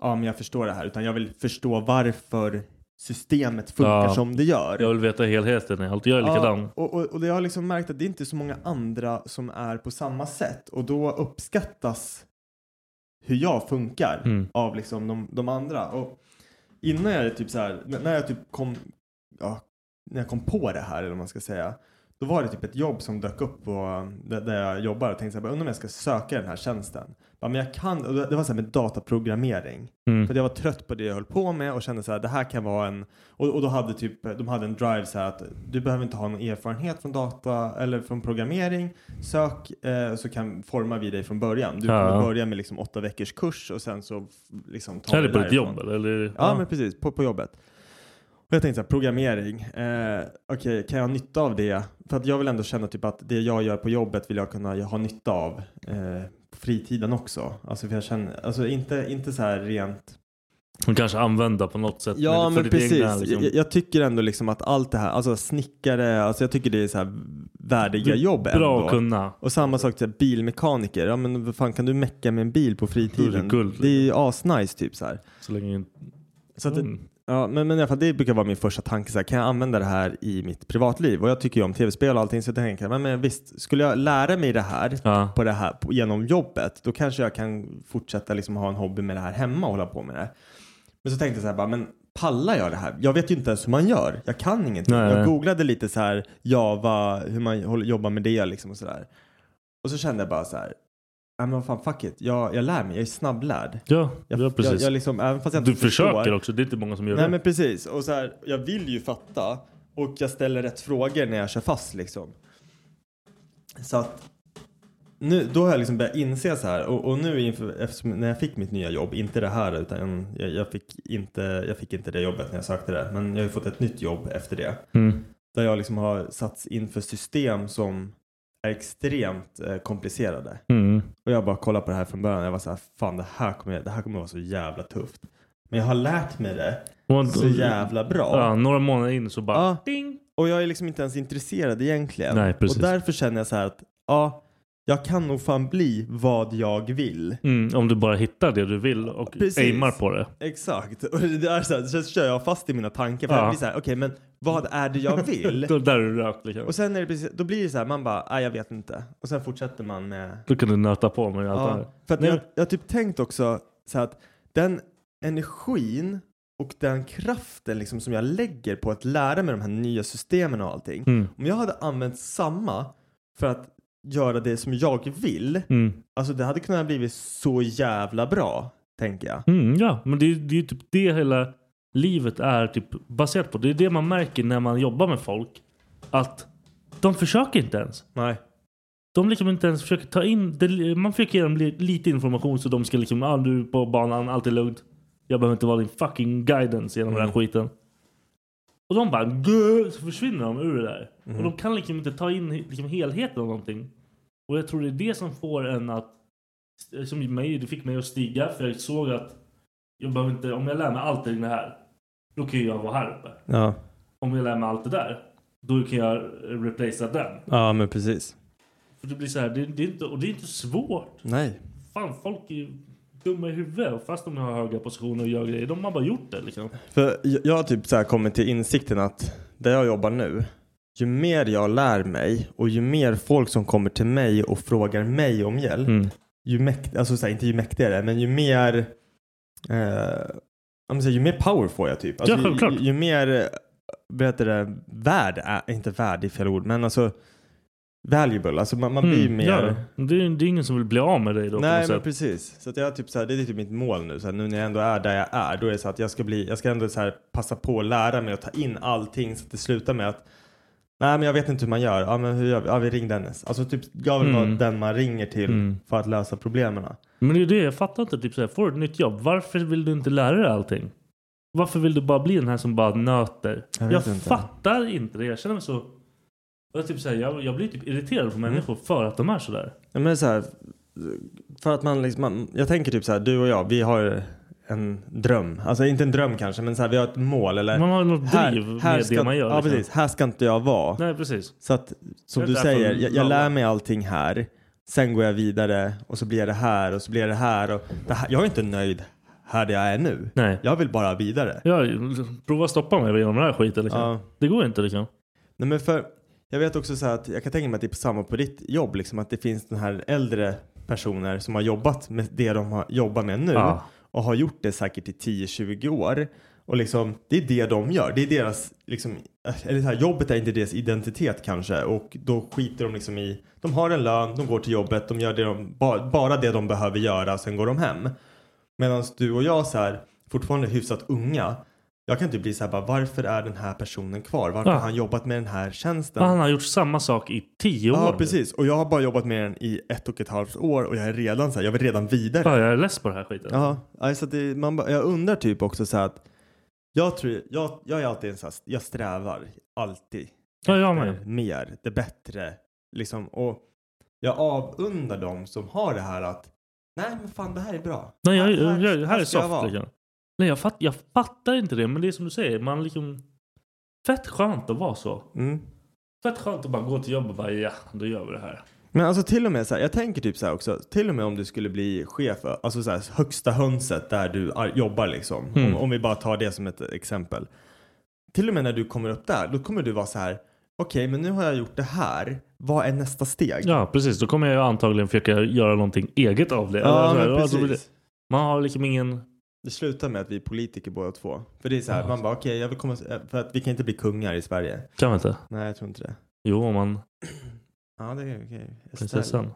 Speaker 7: ja men jag förstår det här, utan jag vill förstå varför systemet funkar
Speaker 8: Ja.
Speaker 7: som det gör.
Speaker 8: Jag vill veta helheten i allt. Jag är likadan.
Speaker 7: Ja, och, och, och jag har liksom märkt att det är inte så många andra som är på samma sätt och då uppskattas hur jag funkar
Speaker 8: Mm.
Speaker 7: av liksom de, de andra. Och innan jag typ så här, n- när jag typ kom, ja, när jag kom på det här eller vad man ska säga, Då var det typ ett jobb som dök upp på, där, där jag jobbar och tänkte så här, bara, undrar om jag ska söka den här tjänsten. Bara, men jag kan, och det det var så här med dataprogrammering.
Speaker 8: Mm.
Speaker 7: För att jag var trött på det jag höll på med och kände så här, det här kan vara en... Och, och då hade typ, de hade en drive så här att du behöver inte ha någon erfarenhet från data eller från programmering. Sök eh, så kan forma vi dig från början. Du
Speaker 8: Ja.
Speaker 7: kommer börja med liksom åtta veckors kurs och sen så f- liksom
Speaker 8: Så
Speaker 7: ta
Speaker 8: är det på ditt
Speaker 7: därifrån.
Speaker 8: jobb eller? eller?
Speaker 7: Ja, men precis. På, på jobbet. Och jag tänkte så här, programmering. Eh, Okej, kan jag ha nytta av det? För att jag vill ändå känna typ att det jag gör på jobbet vill jag kunna ha nytta av eh, på fritiden också. Alltså, för jag känner, alltså inte, inte så här rent
Speaker 8: Som kanske använda på något sätt.
Speaker 7: Ja
Speaker 8: för
Speaker 7: men
Speaker 8: ditt
Speaker 7: precis.
Speaker 8: Egna, liksom.
Speaker 7: jag, jag tycker ändå liksom att allt det här, alltså snickare, alltså jag tycker det är så här värdiga jobb
Speaker 8: Bra
Speaker 7: ändå.
Speaker 8: att kunna.
Speaker 7: Och samma sak till bilmekaniker, ja men vad fan kan du mecka med en bil på
Speaker 8: Det är
Speaker 7: fritiden?
Speaker 8: guld.
Speaker 7: Det är ju asnice typ så här.
Speaker 8: Så länge inte...
Speaker 7: Så att,
Speaker 8: Mm.
Speaker 7: ja, men, men i alla fall, det brukar vara min första tanke, så här, kan jag använda det här i mitt privatliv? Och jag tycker ju om tv-spel och allting så jag tänker, men, men visst, skulle jag lära mig det här
Speaker 8: Ja.
Speaker 7: på det här på, genom jobbet, då kanske jag kan fortsätta liksom ha en hobby med det här hemma och hålla på med det. Men så tänkte jag så här, bara, men pallar jag det här? Jag vet ju inte ens hur man gör. Jag kan ingenting.
Speaker 8: Nej, nej.
Speaker 7: jag googlade lite så här, Java, hur man håller- jobbar med det liksom och så där. Och så kände jag bara så här, nej men vad fan fuck it, jag, jag lär mig, jag är snabblärd.
Speaker 8: Ja,
Speaker 7: Jag,
Speaker 8: ja, precis.
Speaker 7: Jag, jag liksom, även fast jag inte
Speaker 8: du
Speaker 7: förstår,
Speaker 8: försöker också. Det är inte många som gör
Speaker 7: Nej
Speaker 8: det.
Speaker 7: men precis. Och så här, jag vill ju fatta och jag ställer rätt frågor när jag kör fast liksom. Så att nu, då har jag liksom börjat inse så här och, och nu inför, eftersom, när jag fick mitt nya jobb, inte det här utan jag, jag, fick inte, jag fick inte det jobbet när jag sökte det, men jag har ju fått ett nytt jobb efter det.
Speaker 8: Mm.
Speaker 7: Där jag liksom har satts inför system som är extremt eh, komplicerade.
Speaker 8: Mm.
Speaker 7: Och jag bara kollade på det här från början. Jag var så här, fan det här kommer, det här kommer vara så jävla tufft. Men jag har lärt mig det
Speaker 8: Och-
Speaker 7: så jävla bra.
Speaker 8: Ja, några månader in så bara...
Speaker 7: Ja.
Speaker 8: Ding!
Speaker 7: Och jag är liksom inte ens intresserad egentligen.
Speaker 8: Nej, precis.
Speaker 7: och därför känner jag så här att ja, jag kan nog fan bli vad jag vill.
Speaker 8: Mm, om du bara hittar det du vill och
Speaker 7: Precis.
Speaker 8: aimar på det.
Speaker 7: Exakt. Och det där är så, här, så kör jag fast i mina tankar. För
Speaker 8: Ja.
Speaker 7: jag blir så här, okej men vad är det jag vill?
Speaker 8: *laughs* Då, där är du rökt liksom.
Speaker 7: och sen är det precis, då blir det så här, man bara, nej jag vet inte. Och sen fortsätter man med
Speaker 8: Då kan du nöta på med allt det här.
Speaker 7: Ja, för att
Speaker 8: Nej,
Speaker 7: jag, jag har typ tänkt också så här att den energin och den kraften liksom som jag lägger på att lära mig de här nya systemen och allting.
Speaker 8: Mm.
Speaker 7: Om jag hade använt samma för att göra det som jag vill,
Speaker 8: Mm.
Speaker 7: alltså det hade kunnat blivit så jävla bra, tänker jag.
Speaker 8: Mm, ja, men det, är- det är ju typ det hela livet är typ baserat på. Det är det man märker när man jobbar med folk. Att de försöker inte ens.
Speaker 7: Nej.
Speaker 8: De liksom inte ens försöker ta in... Det, man försöker ge dem li- lite information så de ska liksom... Ah, du är på banan, allt är lugnt. Jag behöver inte vara din fucking guidance genom den här
Speaker 7: Mm.
Speaker 8: skiten. Och de bara... "Gah!" Så försvinner de ur det där. Och de kan liksom inte ta in he- liksom helheten av någonting. Och jag tror det är det som får en att... eh, Som mig, det fick mig att stiga för jag såg att... Jag behöver inte... Om jag lär mig allt i det här. Då kan jag vara här uppe.
Speaker 7: Ja,
Speaker 8: Om jag lär mig allt det där. Då kan jag eh, replacea den.
Speaker 7: ja men precis.
Speaker 8: För det blir så här, det, det är inte, och det är inte svårt.
Speaker 7: Nej.
Speaker 8: Fan, folk är ju dumma i huvudet. Och fast de har höga positioner och gör grejer, de har bara gjort det liksom.
Speaker 7: För jag, jag har typ så här kommit till insikten att där jag jobbar nu, ju mer jag lär mig och ju mer folk som kommer till mig och frågar mig om hjälp, ju mäkt, alltså så här, inte ju mäktigare, men ju mer eh, ja, men så här, ju mer power får jag typ. Alltså,
Speaker 8: Ja,
Speaker 7: ju-
Speaker 8: självklart.
Speaker 7: ju, ju mer eh, vad heter det, värd, är, inte värd i fel ord, men alltså valuable, alltså man, man blir ju mer
Speaker 8: Mm, Ja. Det, är, det är ingen som vill bli av med dig då på
Speaker 7: Nej
Speaker 8: något
Speaker 7: men
Speaker 8: sätt.
Speaker 7: precis. Så att jag har typ så här, det är typ mitt mål nu. Så här, nu när jag ändå är där jag är. Då är det så att jag ska, bli, jag ska ändå så här, passa på att lära mig och ta in allting. Så att det slutar med att Nej men jag vet inte hur man gör. Ja men hur gör vi? Ja vi ring Dennis. Alltså typ jag vill
Speaker 8: Mm.
Speaker 7: vara den man ringer till
Speaker 8: Mm.
Speaker 7: för att lösa problemen.
Speaker 8: Men det är det, jag fattar inte. Typ så här, får du ett nytt jobb, varför vill du inte lära dig allting? Varför vill du bara bli den här som bara nöter?
Speaker 7: Jag
Speaker 8: Jag,
Speaker 7: vet inte.
Speaker 8: fattar inte det. Jag känner mig så... Jag, typ så här, jag, jag blir typ irriterad
Speaker 7: Mm.
Speaker 8: på människor för att de är sådär.
Speaker 7: Ja, men så här, för att man liksom, man, jag tänker typ så här du och jag vi har en dröm. Alltså inte en dröm kanske men så här, vi har ett mål eller
Speaker 8: Man har något driv med
Speaker 7: ska,
Speaker 8: det man gör.
Speaker 7: Ja
Speaker 8: liksom.
Speaker 7: precis, här ska inte jag vara.
Speaker 8: Nej, precis.
Speaker 7: Så att som
Speaker 8: Jag
Speaker 7: du
Speaker 8: är där
Speaker 7: säger,
Speaker 8: för
Speaker 7: jag, jag
Speaker 8: alla.
Speaker 7: lär mig allting här. Sen går jag vidare och så blir jag det här och så blir jag det här. Och det här. Jag är inte nöjd här där jag är nu.
Speaker 8: Nej.
Speaker 7: Jag vill bara vidare.
Speaker 8: Ja, prova stoppa mig genom den här skiten liksom.
Speaker 7: Ja.
Speaker 8: Det går inte liksom.
Speaker 7: Nej, men för, jag vet också så här att jag kan tänka mig att det är på samma på ditt jobb. Liksom, att det finns den här äldre personer som har jobbat med det de har jobbat med nu.
Speaker 8: Ja.
Speaker 7: Och har gjort det säkert i 10-20 år. Och liksom, det är det de gör. Det är deras, liksom, eller så här, jobbet är inte deras identitet kanske. Och då skiter de liksom i, de har en lön, de går till jobbet, de gör det de, ba, bara det de behöver göra, sen går de hem. Medan du och jag så här, fortfarande hyfsat unga, jag kan typ bli så här, bara, varför är den här personen kvar? Varför
Speaker 8: Ja.
Speaker 7: har han jobbat med den här tjänsten?
Speaker 8: Han har gjort samma sak i tio år.
Speaker 7: Ja,
Speaker 8: nu.
Speaker 7: precis. Och jag har bara jobbat med den i ett och ett halvt år och jag är redan så här, jag är redan vidare.
Speaker 8: Ja, jag är less på den här skiten.
Speaker 7: Ja, alltså att det, man, bara- jag undrar typ också så här att jag tror, jag, jag är alltid en så här, jag strävar alltid.
Speaker 8: Ja, jag
Speaker 7: efter
Speaker 8: med.
Speaker 7: Mer, det bättre. Liksom, och jag avundar dem som har det här att nej men fan det här är bra.
Speaker 8: Nej, jag,
Speaker 7: Här-
Speaker 8: jag, jag, det här är
Speaker 7: ska jag
Speaker 8: soft.
Speaker 7: vara.
Speaker 8: liksom. Nej, jag, fatt, jag fattar inte det, men det är som du säger. Man liksom... Fett skönt att vara så.
Speaker 7: Mm.
Speaker 8: Fett skönt att bara gå till jobbet och bara ja, då gör vi det här.
Speaker 7: Men alltså till och med så här, jag tänker typ så här också, till och med om du skulle bli chef, alltså så här, högsta hönset där du ar- jobbar liksom.
Speaker 8: Mm.
Speaker 7: Om, om vi bara tar det som ett exempel. Till och med när du kommer upp där, då kommer du vara så här, okej men nu har jag gjort det här, vad är nästa steg?
Speaker 8: Ja, precis. Då kommer jag ju antagligen försöka göra någonting eget av det.
Speaker 7: Ja,
Speaker 8: Eller så här,
Speaker 7: men
Speaker 8: alltså,
Speaker 7: precis.
Speaker 8: man har liksom ingen...
Speaker 7: Det slutar med att vi är politiker båda två. För det är så här,
Speaker 8: Ja.
Speaker 7: man bara okej, jag vill komma, eh, för att vi kan inte bli kungar i Sverige.
Speaker 8: Kan man inte?
Speaker 7: Nej, jag tror inte det.
Speaker 8: Jo, om man...
Speaker 7: Ja, det är okej. Estelle.
Speaker 8: Prinsessan.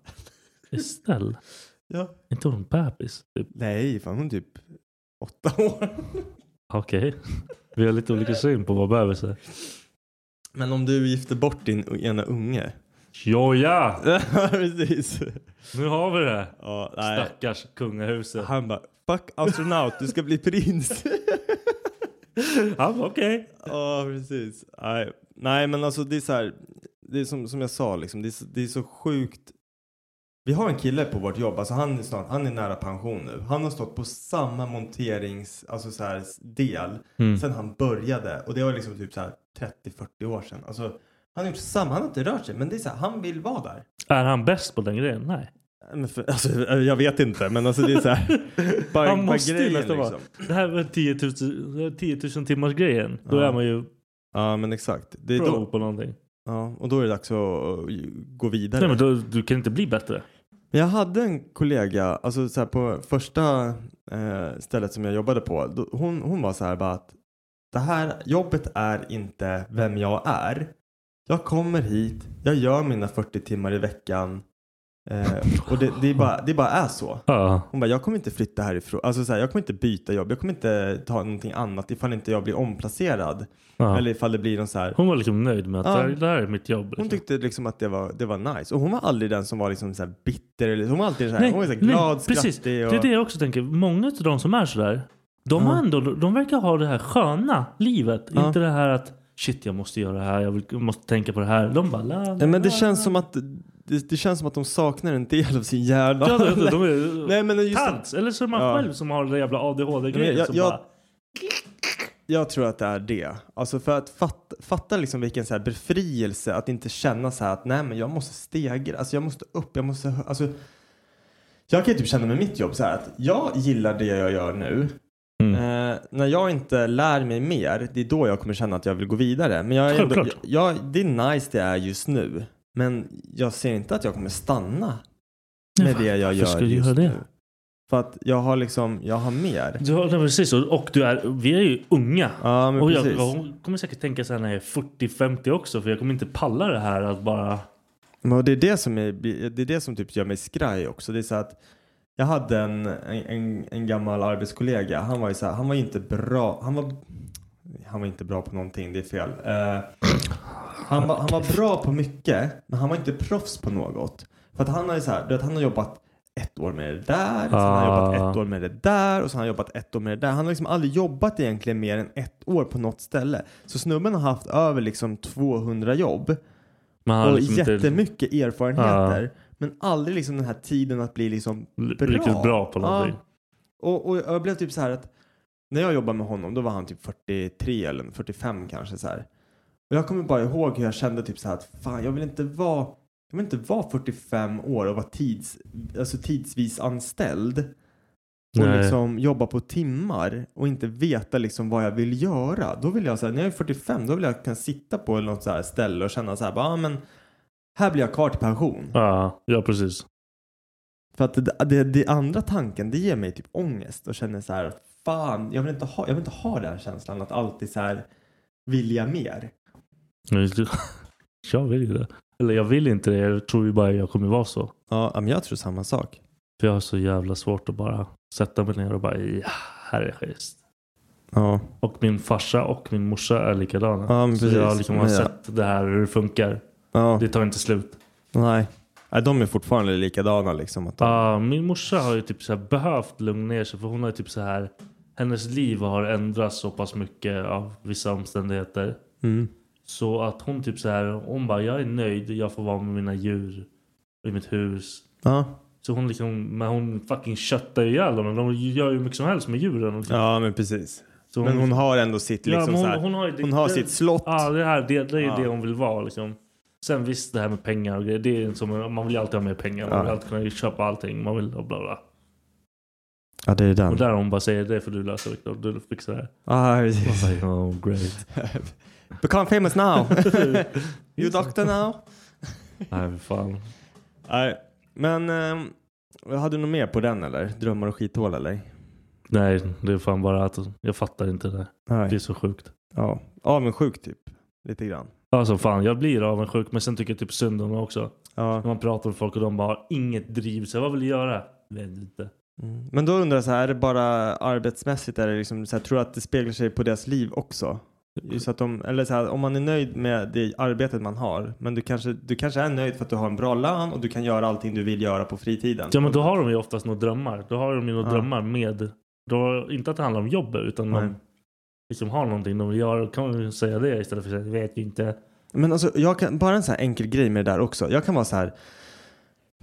Speaker 8: Estelle?
Speaker 7: Ja.
Speaker 8: Inte hon bebis? Typ.
Speaker 7: Nej, fan hon är typ åtta år. *laughs*
Speaker 8: Okej. *laughs* Vi har lite olika syn på vad bebis är.
Speaker 7: Men om du gifter bort din ena unge.
Speaker 8: Joja!
Speaker 7: *laughs* Precis.
Speaker 8: Nu har vi det!
Speaker 7: Ja, nej.
Speaker 8: Stackars kungahuset.
Speaker 7: Han bara, fuck astronaut, du ska bli prins. *laughs*
Speaker 8: Han bara, okej.
Speaker 7: Ja, precis. Nej. Nej, men alltså det är så här, det är som, som jag sa liksom, det är, så, det är så sjukt. Vi har en kille på vårt jobb, alltså han är snart, han är nära pension nu. Han har stått på samma monterings, alltså så här del,
Speaker 8: Mm.
Speaker 7: sen han började och det var liksom typ så här 30-40 år sedan. Alltså han har gjort samma, han har inte rört sig, men det är så här, han vill vara där.
Speaker 8: Är han bäst på den grejen? Nej.
Speaker 7: Nej, Men för, alltså, *laughs* jag vet inte, men alltså det är så
Speaker 8: *laughs*
Speaker 7: här. bara,
Speaker 8: Han
Speaker 7: bara
Speaker 8: måste ju liksom.
Speaker 7: grejen, liksom.
Speaker 8: nästan vara- Det här med 10 000, 10 000 timmars grejen. Då
Speaker 7: Ja.
Speaker 8: är man ju
Speaker 7: Ja, men exakt. Det är
Speaker 8: pro
Speaker 7: då,
Speaker 8: på någonting.
Speaker 7: ja, och då är det dags att uh, gå vidare.
Speaker 8: Nej, men då, du kan inte bli bättre.
Speaker 7: Men Jag hade en kollega, alltså så här på första eh, stället som jag jobbade på, då, hon, hon var så här bara att det här jobbet är inte vem jag är. Jag kommer hit, jag gör mina 40 timmar i veckan eh, och det, det, är bara, det bara är så.
Speaker 8: Ja.
Speaker 7: Hon bara, jag kommer inte flytta härifrån, alltså så här, jag kommer inte byta jobb, jag kommer inte ta någonting annat ifall inte jag blir omplacerad.
Speaker 8: ja.
Speaker 7: Eller ifall det blir någon så här,
Speaker 8: Hon var liksom nöjd med att
Speaker 7: Ja.
Speaker 8: det, här, det här är mitt jobb. Liksom.
Speaker 7: hon tyckte liksom att det var, det var nice. Och hon var aldrig den som var liksom så här bitter. Eller, hon var alltid så här, hon var så här glad,
Speaker 8: precis.
Speaker 7: skrattig. Och,
Speaker 8: Det är det jag också tänker. Många av de som är sådär, de, har
Speaker 7: Ja.
Speaker 8: ändå, de verkar ha det här sköna livet.
Speaker 7: Ja.
Speaker 8: Inte det här att shit, jag måste göra det här, jag, vill, jag måste tänka på det här. De bara la, la,
Speaker 7: Nej, men det
Speaker 8: la,
Speaker 7: känns
Speaker 8: la.
Speaker 7: som att det, det känns som att de saknar en del av sin hjärna.
Speaker 8: Ja, de, de är
Speaker 7: *laughs* Nej, men just,
Speaker 8: tants. Eller så är man
Speaker 7: Ja.
Speaker 8: själv som har den där jävla
Speaker 7: Nej,
Speaker 8: ADHD-grejen.
Speaker 7: men jag-
Speaker 8: som
Speaker 7: jag-
Speaker 8: bara,
Speaker 7: jag tror att det är det. Alltså för att fatta, fatta liksom vilken så här befrielse att inte känna så här att nej men jag måste stegra, alltså jag måste upp, jag måste, hö- alltså. Jag kan ju typ känna med mitt jobb så här att jag gillar det jag gör nu.
Speaker 8: Mm.
Speaker 7: Eh, när jag inte lär mig mer, det är då jag kommer känna att jag vill gå vidare. Men jag är ändå, jag,
Speaker 8: Självklart.
Speaker 7: jag, det är nice det är just nu. Men jag ser inte att jag kommer stanna
Speaker 8: Nej,
Speaker 7: med det jag
Speaker 8: varför
Speaker 7: gör
Speaker 8: ska du
Speaker 7: just
Speaker 8: göra det?
Speaker 7: nu. För att jag har liksom, jag har mer.
Speaker 8: Du har, nej, precis, och, och du är, vi är ju unga.
Speaker 7: Ja men
Speaker 8: och jag,
Speaker 7: precis.
Speaker 8: jag hon kommer säkert tänka så här när jag är 40-50 också. För jag kommer inte palla det här att bara...
Speaker 7: Men och det är det som, är, det är det som typ gör mig skraj också. Det är så att jag hade en, en, en, en gammal arbetskollega. Han var ju så här, han var ju inte bra. Han var, han var inte bra på någonting, det är fel. Eh, han, var, han var bra på mycket, men han var inte proffs på något. För att han har ju så här, du vet, han har jobbat ett år med det där, sen har han jobbat ett år med det där och sen har han jobbat ett år med det där. Han har liksom aldrig jobbat egentligen mer än ett år på något ställe. Så snubben har haft över liksom 200 jobb
Speaker 8: Man har
Speaker 7: och
Speaker 8: liksom inte
Speaker 7: jättemycket erfarenheter. Men aldrig liksom den här tiden att bli liksom
Speaker 8: l-
Speaker 7: bra.
Speaker 8: riktigt bra på någonting.
Speaker 7: Ja. Och, och jag blev typ så här att när jag jobbade med honom då var han typ 43 eller 45 kanske så här. Och jag kommer bara ihåg hur jag kände typ så här att fan jag vill inte vara jag vill inte vara 45 år och vara tids, alltså tidsvis anställd och
Speaker 8: Nej.
Speaker 7: liksom jobba på timmar och inte veta liksom vad jag vill göra. Då vill jag så här, när jag är 45 då vill jag kunna sitta på något så här ställe och känna så här, bara, ah, men här blir jag kvar till pension.
Speaker 8: Ja, ja, precis.
Speaker 7: För att det, det, det andra tanken det ger mig typ ångest och känner så här, fan, jag vill inte ha, jag vill inte ha den känslan att alltid så här vilja mer.
Speaker 8: Men just- *laughs* Jag vill ju det. Eller jag vill inte det. Jag tror ju bara jag kommer vara så.
Speaker 7: Ja, men jag tror samma sak.
Speaker 8: För jag har så jävla svårt att bara sätta mig ner och bara ja, här är schysst.
Speaker 7: Ja,
Speaker 8: Och min farsa och min morsa är likadana.
Speaker 7: Ja, men
Speaker 8: så
Speaker 7: precis.
Speaker 8: jag har liksom har
Speaker 7: Ja.
Speaker 8: sett det här hur det funkar.
Speaker 7: ja,
Speaker 8: Det tar inte slut.
Speaker 7: nej. Nej, de är fortfarande likadana liksom. Att de,
Speaker 8: Ah, min morsa har ju typ så här behövt lugna ner sig för hon har ju typ så här hennes liv har ändrats så pass mycket av vissa omständigheter.
Speaker 7: mm,
Speaker 8: Så att hon typ så här, hon bara jag är nöjd, jag får vara med mina djur i mitt hus.
Speaker 7: ja.
Speaker 8: Så hon liksom, men hon fucking köttar ju ihjäl dem. Men De gör ju hur mycket som helst med djuren. Och liksom.
Speaker 7: ja, men precis.
Speaker 8: så
Speaker 7: Men hon har ändå sitt,
Speaker 8: Ja,
Speaker 7: liksom,
Speaker 8: men
Speaker 7: så här, hon,
Speaker 8: har ju det-
Speaker 7: har
Speaker 8: det-
Speaker 7: sitt slott.
Speaker 8: Ja, det, här, det, det är ju
Speaker 7: Ja.
Speaker 8: det hon vill vara liksom. Sen visst, det här med pengar och grejer. Det är som, man vill ju alltid ha mer pengar. Man
Speaker 7: Ja.
Speaker 8: vill alltid kunna köpa allting. Man vill ha bla bla.
Speaker 7: Ja, det är den.
Speaker 8: Och där hon bara säger det får du lösa Viktor. Du fixar *laughs* det här.
Speaker 7: Ah,
Speaker 8: Man säger oh great.
Speaker 7: Become famous
Speaker 8: *laughs*
Speaker 7: now! *laughs* you doctor now!
Speaker 8: Nej, för fan.
Speaker 7: Nej, men ehm, hade du något mer på den eller? Drömmar och skithål eller?
Speaker 8: Nej, det är fan bara att jag fattar inte det. där. Det är
Speaker 7: Nej.
Speaker 8: så sjukt.
Speaker 7: Ja, avundsjuk typ. Lite grann.
Speaker 8: Alltså fan, jag blir avundsjuk. Men sen tycker jag typ synd om dem också. När
Speaker 7: Ja.
Speaker 8: man pratar med folk och de bara har inget driv. Så här, vad vill du göra? Vet inte.
Speaker 7: Mm. Men då undrar jag så här, är det bara arbetsmässigt? Är det liksom, så här, tror du att det speglar sig på deras liv också? Just att de, eller så här, om man är nöjd med det arbetet man har, men du kanske, du kanske är nöjd för att du har en bra lön och du kan göra allting du vill göra på fritiden.
Speaker 8: Ja men då har de ju oftast några drömmar. Då har de ju några
Speaker 7: Ja.
Speaker 8: drömmar med. Då, inte att det handlar om jobbet utan
Speaker 7: Nej.
Speaker 8: de liksom har någonting de vill göra. Då kan man ju säga det istället för att säga vet ju inte.
Speaker 7: Men alltså, jag kan, bara en sån här enkel grej med det där också. Jag kan vara så här.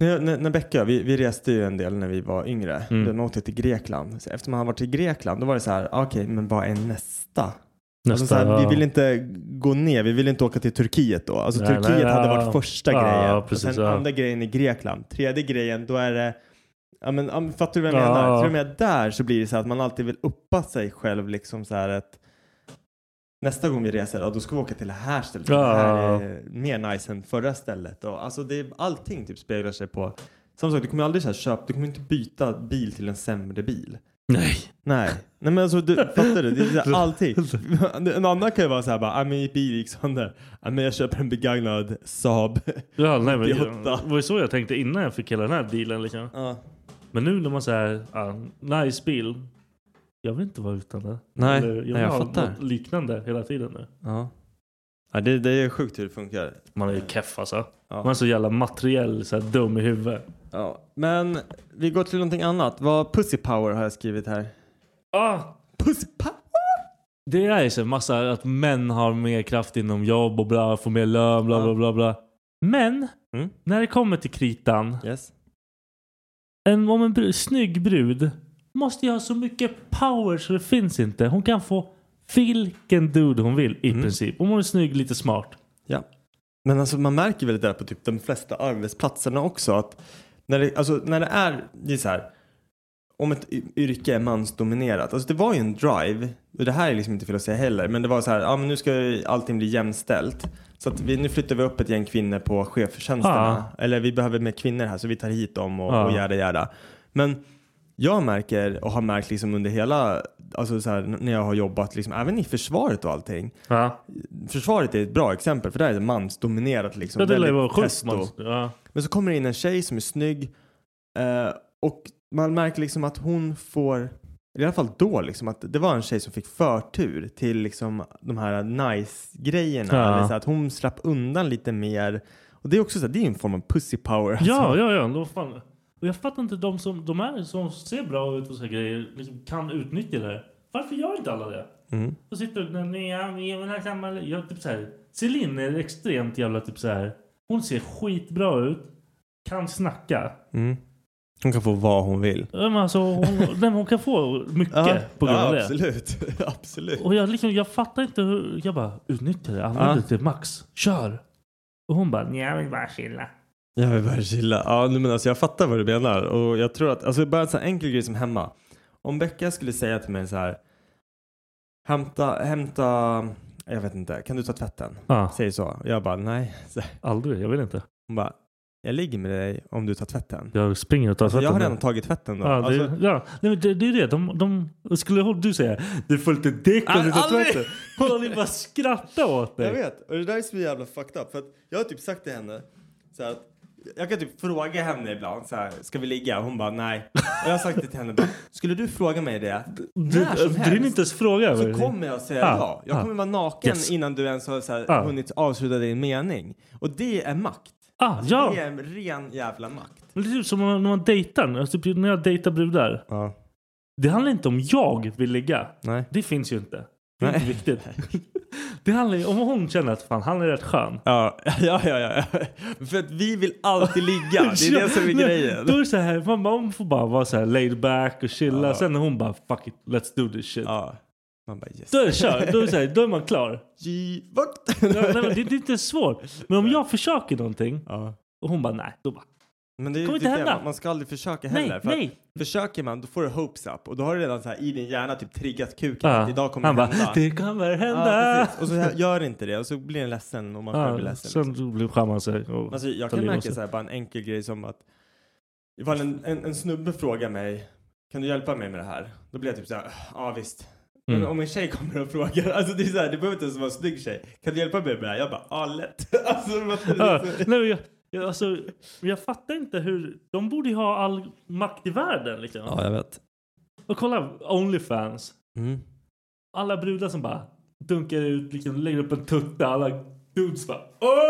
Speaker 7: När, jag- när, när Becka, vi, vi reste ju en del när vi var yngre.
Speaker 8: Mm.
Speaker 7: Mm. Då åkte jag till Grekland. Så efter man har varit i Grekland, då var det så här, okej, men vad är nästa? Alltså så här, vi vill inte gå ner, vi vill inte åka till Turkiet då. Alltså
Speaker 8: Nej,
Speaker 7: Turkiet
Speaker 8: nej,
Speaker 7: hade
Speaker 8: ja.
Speaker 7: varit första
Speaker 8: Ja,
Speaker 7: grejen.
Speaker 8: precis,
Speaker 7: och sen
Speaker 8: ja.
Speaker 7: andra grejen i Grekland. Tredje grejen, då är det, ja men ja, men fattar du vad jag
Speaker 8: Ja.
Speaker 7: menar? Till och med där så blir det så här att man alltid vill uppa sig själv liksom så här att nästa gång vi reser, ja, då ska vi åka till det här stället.
Speaker 8: Ja.
Speaker 7: Det här är mer nice än förra stället. Och, alltså det, allting typ speglar sig på, som sagt du kommer aldrig så här köpa, du kommer inte byta bil till en sämre bil.
Speaker 8: Nej.
Speaker 7: Nej, nej men alltså du, fattar du? Det är
Speaker 8: *laughs*
Speaker 7: så här, allting. *laughs* En annan kan ju vara så här bara, "Ah, men mitt bil gick sönder. "Ah, men jag köper en begagnad Saab. *laughs*
Speaker 8: Ja, nej, men,
Speaker 7: Idiota.
Speaker 8: det var ju så jag tänkte innan jag fick hela den här dealen. Liksom.
Speaker 7: Ja.
Speaker 8: Men nu när man säger ah, nice bil. Jag vill inte vara utan det.
Speaker 7: Nej,
Speaker 8: Eller, jag,
Speaker 7: nej,
Speaker 8: vill
Speaker 7: jag
Speaker 8: ha
Speaker 7: fattar.
Speaker 8: något liknande hela tiden nu.
Speaker 7: Ja. ja det, det är sjukt hur det funkar.
Speaker 8: Man är ju keff alltså.
Speaker 7: Ja.
Speaker 8: Man är så jävla materiell, så här, dum i huvudet.
Speaker 7: Ja. Men vi går till någonting annat. Vad pussy power har jag skrivit här.
Speaker 8: Ah,
Speaker 7: Pussy power?
Speaker 8: Det är ju så en massa att män har mer kraft inom jobb och bla, får mer lön, bla
Speaker 7: Ja.
Speaker 8: bla bla bla. Men
Speaker 7: Mm.
Speaker 8: när det kommer till kritan,
Speaker 7: Yes.
Speaker 8: en, om en br- snygg brud måste ju ha så mycket power så det finns inte. Hon kan få vilken dude hon vill i
Speaker 7: Mm.
Speaker 8: princip. Om hon är snygg, lite smart.
Speaker 7: Ja. Men alltså man märker väl det där på typ de flesta arbetsplatserna också att när det, alltså, när det är, det är så här, om ett y- yrke är mansdominerat, alltså det var ju en drive, och det här är liksom inte fel att säga heller, men det var så här, ja men nu ska ju allting bli jämställt. Så att vi, nu flyttar vi upp ett gäng kvinnor på cheftjänsterna. Eller vi behöver mer kvinnor här så vi tar hit dem och,
Speaker 8: Ja.
Speaker 7: och gärda gärda. Men jag märker och har märkt liksom under hela, alltså så här, n- när jag har jobbat liksom, även i försvaret och allting.
Speaker 8: Ja,
Speaker 7: Försvaret är ett bra exempel för där är det mansdominerat. Liksom,
Speaker 8: ja det lär ju
Speaker 7: väldigt
Speaker 8: vara sjukt.
Speaker 7: testo.
Speaker 8: man- Ja.
Speaker 7: Men så kommer det in en tjej som är snygg eh, och man märker liksom att hon får, i alla fall då, liksom, att det var en tjej som fick förtur till liksom, de här nice-grejerna.
Speaker 8: Ja.
Speaker 7: Eller så att hon slapp undan lite mer. Och det är också så här, det är ju en form av pussy power.
Speaker 8: Ja,
Speaker 7: alltså.
Speaker 8: ja, ja. Då fan. Och jag fattar inte de som, de här som ser bra ut och så här grejer liksom kan utnyttja det. här. Varför gör inte alla det?
Speaker 7: Mm.
Speaker 8: Då sitter du och gnäller, "Ja, men här kan man... Jag, typ så här. Celine är extremt jävla typ så här. Hon ser skitbra ut. Kan snacka.
Speaker 7: Mm. Hon kan få vad hon vill.
Speaker 8: Ja, men Alltså, hon, *laughs* nej, men hon kan få mycket på grund av
Speaker 7: ja,
Speaker 8: det.
Speaker 7: absolut. *laughs* absolut.
Speaker 8: Och jag, liksom, jag fattar inte hur... Jag bara, utnyttja det. Använd
Speaker 7: Ja.
Speaker 8: det till max. Kör! Och hon bara, "Nej, jag vill bara chilla.
Speaker 7: Jag vill bara chilla. Ja, nej, men alltså, jag fattar vad du menar. Och jag tror att, alltså bara en sån här enkel grej som hemma. Om Becka skulle säga till mig så här. Hämta, hämta, jag vet inte, kan du ta tvätten?
Speaker 8: Ah,
Speaker 7: Säg så. Jag bara nej. Så, här.
Speaker 8: aldrig, jag vill inte.
Speaker 7: hon bara, jag ligger med dig om du tar tvätten.
Speaker 8: Jag springer och tar
Speaker 7: Alltså, Jag har
Speaker 8: tvätten.
Speaker 7: redan tagit tvätten då.
Speaker 8: Ja, det,
Speaker 7: Alltså,
Speaker 8: ja. Nej, men det, det är det. De, de, skulle du säga det är fullt ett däck
Speaker 7: Al-
Speaker 8: under
Speaker 7: aldrig!
Speaker 8: tvätten. Kolla, ni liksom bara skrattar åt
Speaker 7: Jag
Speaker 8: dig.
Speaker 7: vet, och det där är så jävla fucked up. För att jag har typ sagt till henne så här att jag kan typ fråga henne ibland så här, ska vi ligga? Hon bara nej. Och jag har sagt det till henne bara, skulle du fråga mig det
Speaker 8: Du,
Speaker 7: när som
Speaker 8: du hinner
Speaker 7: helst
Speaker 8: inte ens fråga.
Speaker 7: så
Speaker 8: vad det är.
Speaker 7: kommer jag säga
Speaker 8: Ah,
Speaker 7: ja. Jag
Speaker 8: ah.
Speaker 7: kommer vara naken
Speaker 8: Yes.
Speaker 7: innan du ens har så här,
Speaker 8: Ah.
Speaker 7: hunnit avsluta din mening. Och det är makt.
Speaker 8: Ah, ja.
Speaker 7: Det är en ren jävla makt.
Speaker 8: Men Det är typ som när man- när man dejtar. Alltså, typ, när jag dejtar brudar.
Speaker 7: Ja,
Speaker 8: Det handlar inte om jag vill ligga.
Speaker 7: nej.
Speaker 8: Det finns ju inte. Det är
Speaker 7: Nej.
Speaker 8: inte viktigt. *laughs* Det handlar ju om hon känner att fan, han är rätt skön.
Speaker 7: Ja, *laughs* ja, ja, ja. För att vi vill alltid ligga. Det
Speaker 8: *laughs*
Speaker 7: är det som är
Speaker 8: Nej,
Speaker 7: grejen.
Speaker 8: Då är det så här, man, bara, man får bara vara så här laid back och chilla. Sen när hon bara fuck it, let's do this shit.
Speaker 7: Ja. Man bara yes.
Speaker 8: Då är det kört. Då är, det så här, då är man klar.
Speaker 7: G-vakt.
Speaker 8: Nej, men det, det är inte svårt. Men om jag försöker någonting
Speaker 7: *laughs* Ja.
Speaker 8: och hon bara nej. Då bara,
Speaker 7: Men det är
Speaker 8: Kommer
Speaker 7: ju
Speaker 8: inte
Speaker 7: typ det,
Speaker 8: hända.
Speaker 7: man- man ska aldrig försöka
Speaker 8: Nej,
Speaker 7: heller. för att
Speaker 8: nej.
Speaker 7: Försöker man, då får du hopes up. Och då har du redan så här, i din hjärna typ triggat kuken.
Speaker 8: ja.
Speaker 7: att Idag kommer
Speaker 8: han
Speaker 7: det
Speaker 8: bara
Speaker 7: hända.
Speaker 8: det kommer
Speaker 7: Ja,
Speaker 8: hända.
Speaker 7: precis. och så här, gör inte det och så blir den ledsen och man själv blir
Speaker 8: Ja,
Speaker 7: ledsen. liksom.
Speaker 8: sen blir skämman sig. Och
Speaker 7: Alltså, jag
Speaker 8: tar
Speaker 7: kan
Speaker 8: livet av
Speaker 7: märka
Speaker 8: sig.
Speaker 7: så här, bara en enkel grej som att ifall en, en, en snubbe frågar mig kan du hjälpa mig med det här? Då blir jag typ så här, ja ah, visst.
Speaker 8: Mm.
Speaker 7: Men om en tjej kommer och frågar, alltså det är så här, det behöver inte ens vara en snygg tjej. Kan du hjälpa mig med det här? Jag bara, ja ah, lätt. *laughs* Alltså, man,
Speaker 8: *laughs* Ja, nej, men jag, jag, alltså, jag fattar inte hur... De borde ju ha all makt i världen. Liksom.
Speaker 7: jag vet.
Speaker 8: Och kolla Onlyfans.
Speaker 7: Mm.
Speaker 8: Alla brudar som bara dunkar ut, liksom, lägger upp en tutte. Alla dudes bara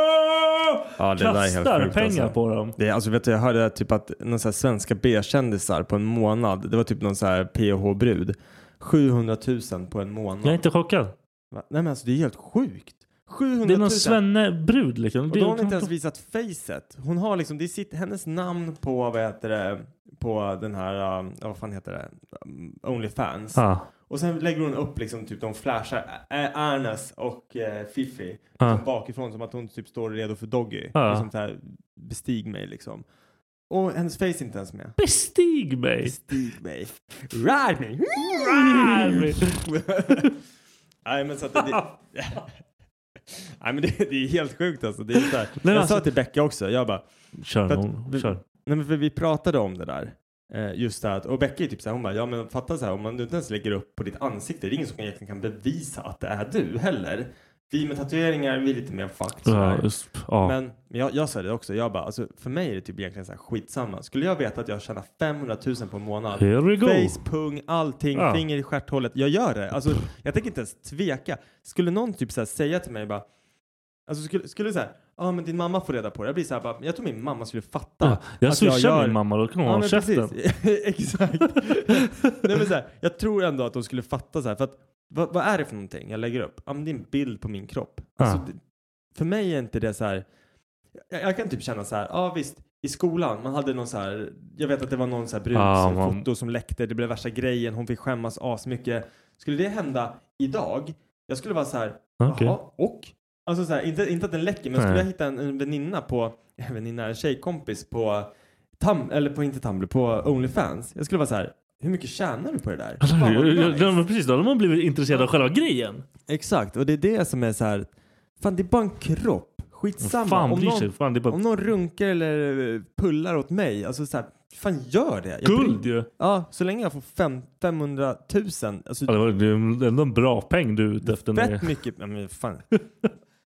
Speaker 8: Åh!
Speaker 7: Ja, det där är helt
Speaker 8: Kastar
Speaker 7: sjukt,
Speaker 8: pengar
Speaker 7: alltså.
Speaker 8: på dem.
Speaker 7: Det, är- alltså vet du, jag hörde typ att någon så här svenska B-kändisar på en månad, det var typ någon så här PH-brud, 700 000 på en månad.
Speaker 8: Jag är inte chockad.
Speaker 7: Va? Nej men alltså det är helt sjukt. 700 000.
Speaker 8: Det är någon svennebrud liksom.
Speaker 7: Och
Speaker 8: Det
Speaker 7: då
Speaker 8: är-
Speaker 7: har hon inte ens visat facet. Hon har liksom, det är sitt, hennes namn på, vad heter det, på den här, um, ja, vad fan heter det, Um, Onlyfans.
Speaker 8: Ja.
Speaker 7: Och sen lägger hon upp liksom typ de flashar Ä- Ernest och eh, Fifi
Speaker 8: Ja.
Speaker 7: liksom bakifrån som att hon typ står redo för Doggy.
Speaker 8: Ja.
Speaker 7: Liksom så här, bestig mig liksom. Och hennes face är inte ens med.
Speaker 8: Bestig mig!
Speaker 7: Bestig mig. Ride me.
Speaker 8: Ride me.
Speaker 7: *laughs* Nej men så att det, *laughs* nej, men det, det är helt sjukt alltså. Det är så här.
Speaker 8: men
Speaker 7: jag sa
Speaker 8: alltså-
Speaker 7: till Becka också, jag bara,
Speaker 8: *laughs* Kör
Speaker 7: För att-
Speaker 8: hon. Kör.
Speaker 7: Nej men för vi pratade om det där. Eh, just det här att, och Becka är typ så här, hon bara, ja men fatta så här om man inte ens lägger upp på ditt ansikte, det är ingen som egentligen kan bevisa att det är du heller. Vi med tatueringar, vi är lite mer fucked. så
Speaker 8: Ja,
Speaker 7: här.
Speaker 8: just- ja.
Speaker 7: Men, men jag, jag sa det också, jag bara, alltså, för mig är det typ egentligen så här skitsamma. Skulle jag veta att jag tjänar 500 000 på en månad,
Speaker 8: Here we go.
Speaker 7: face, pung, allting,
Speaker 8: Ja.
Speaker 7: finger i stjärthålet, jag gör det. Alltså, jag tänker inte ens tveka. Skulle någon typ så här säga till mig bara, alltså skulle, skulle så här, ja men din mamma får reda på det. Jag blir så här, bara, jag tror min mamma skulle fatta.
Speaker 8: Ja, jag
Speaker 7: att jag
Speaker 8: swishar
Speaker 7: gör-
Speaker 8: min mamma, då kan hon
Speaker 7: Ja,
Speaker 8: hålla
Speaker 7: men
Speaker 8: käften.
Speaker 7: precis. *laughs* Exakt. Nej, men så här, jag tror ändå att de skulle fatta så här, för att vad, vad är det för någonting jag lägger upp? Ja, men det är en bild på min kropp. Alltså,
Speaker 8: Ah.
Speaker 7: det, för mig är inte det så här, jag, jag kan typ känna så här, ja ah, visst, i skolan, man hade någon så här, jag vet att det var någon så här
Speaker 8: Ah,
Speaker 7: brudsfoto
Speaker 8: man-
Speaker 7: foto som läckte, det blev värsta grejen, hon fick skämmas asmycket. Skulle det hända idag, jag skulle vara så här,
Speaker 8: Okej.
Speaker 7: Jaha, och? Alltså så här, inte, inte att den läcker, men
Speaker 8: Nej.
Speaker 7: skulle jag hitta en, en väninna på, *laughs* en väninna, en tjejkompis på Tam, eller på inte Tumblr, på Onlyfans. Jag skulle vara så här, hur mycket tjänar du på det där?
Speaker 8: Alltså,
Speaker 7: Fan, vad
Speaker 8: jag- jag-
Speaker 7: nice.
Speaker 8: ja, men precis, då hade man blivit intresserad av själva grejen.
Speaker 7: Exakt, och det är det som är så här, fan det är bara en kropp. Skitsamma.
Speaker 8: Fan
Speaker 7: om,
Speaker 8: bryr sig.
Speaker 7: någon,
Speaker 8: Fan, det är bara
Speaker 7: om någon runkar eller eh, pullar åt mig, alltså så här, fan gör det. Jag
Speaker 8: guld
Speaker 7: bryr-
Speaker 8: ju.
Speaker 7: Ja, så länge jag får fem, 500 000. Alltså,
Speaker 8: Ja, det var det är ändå en bra peng du är ute efter.
Speaker 7: Fett
Speaker 8: Nu.
Speaker 7: mycket. Ja, men
Speaker 8: *laughs*
Speaker 7: fan.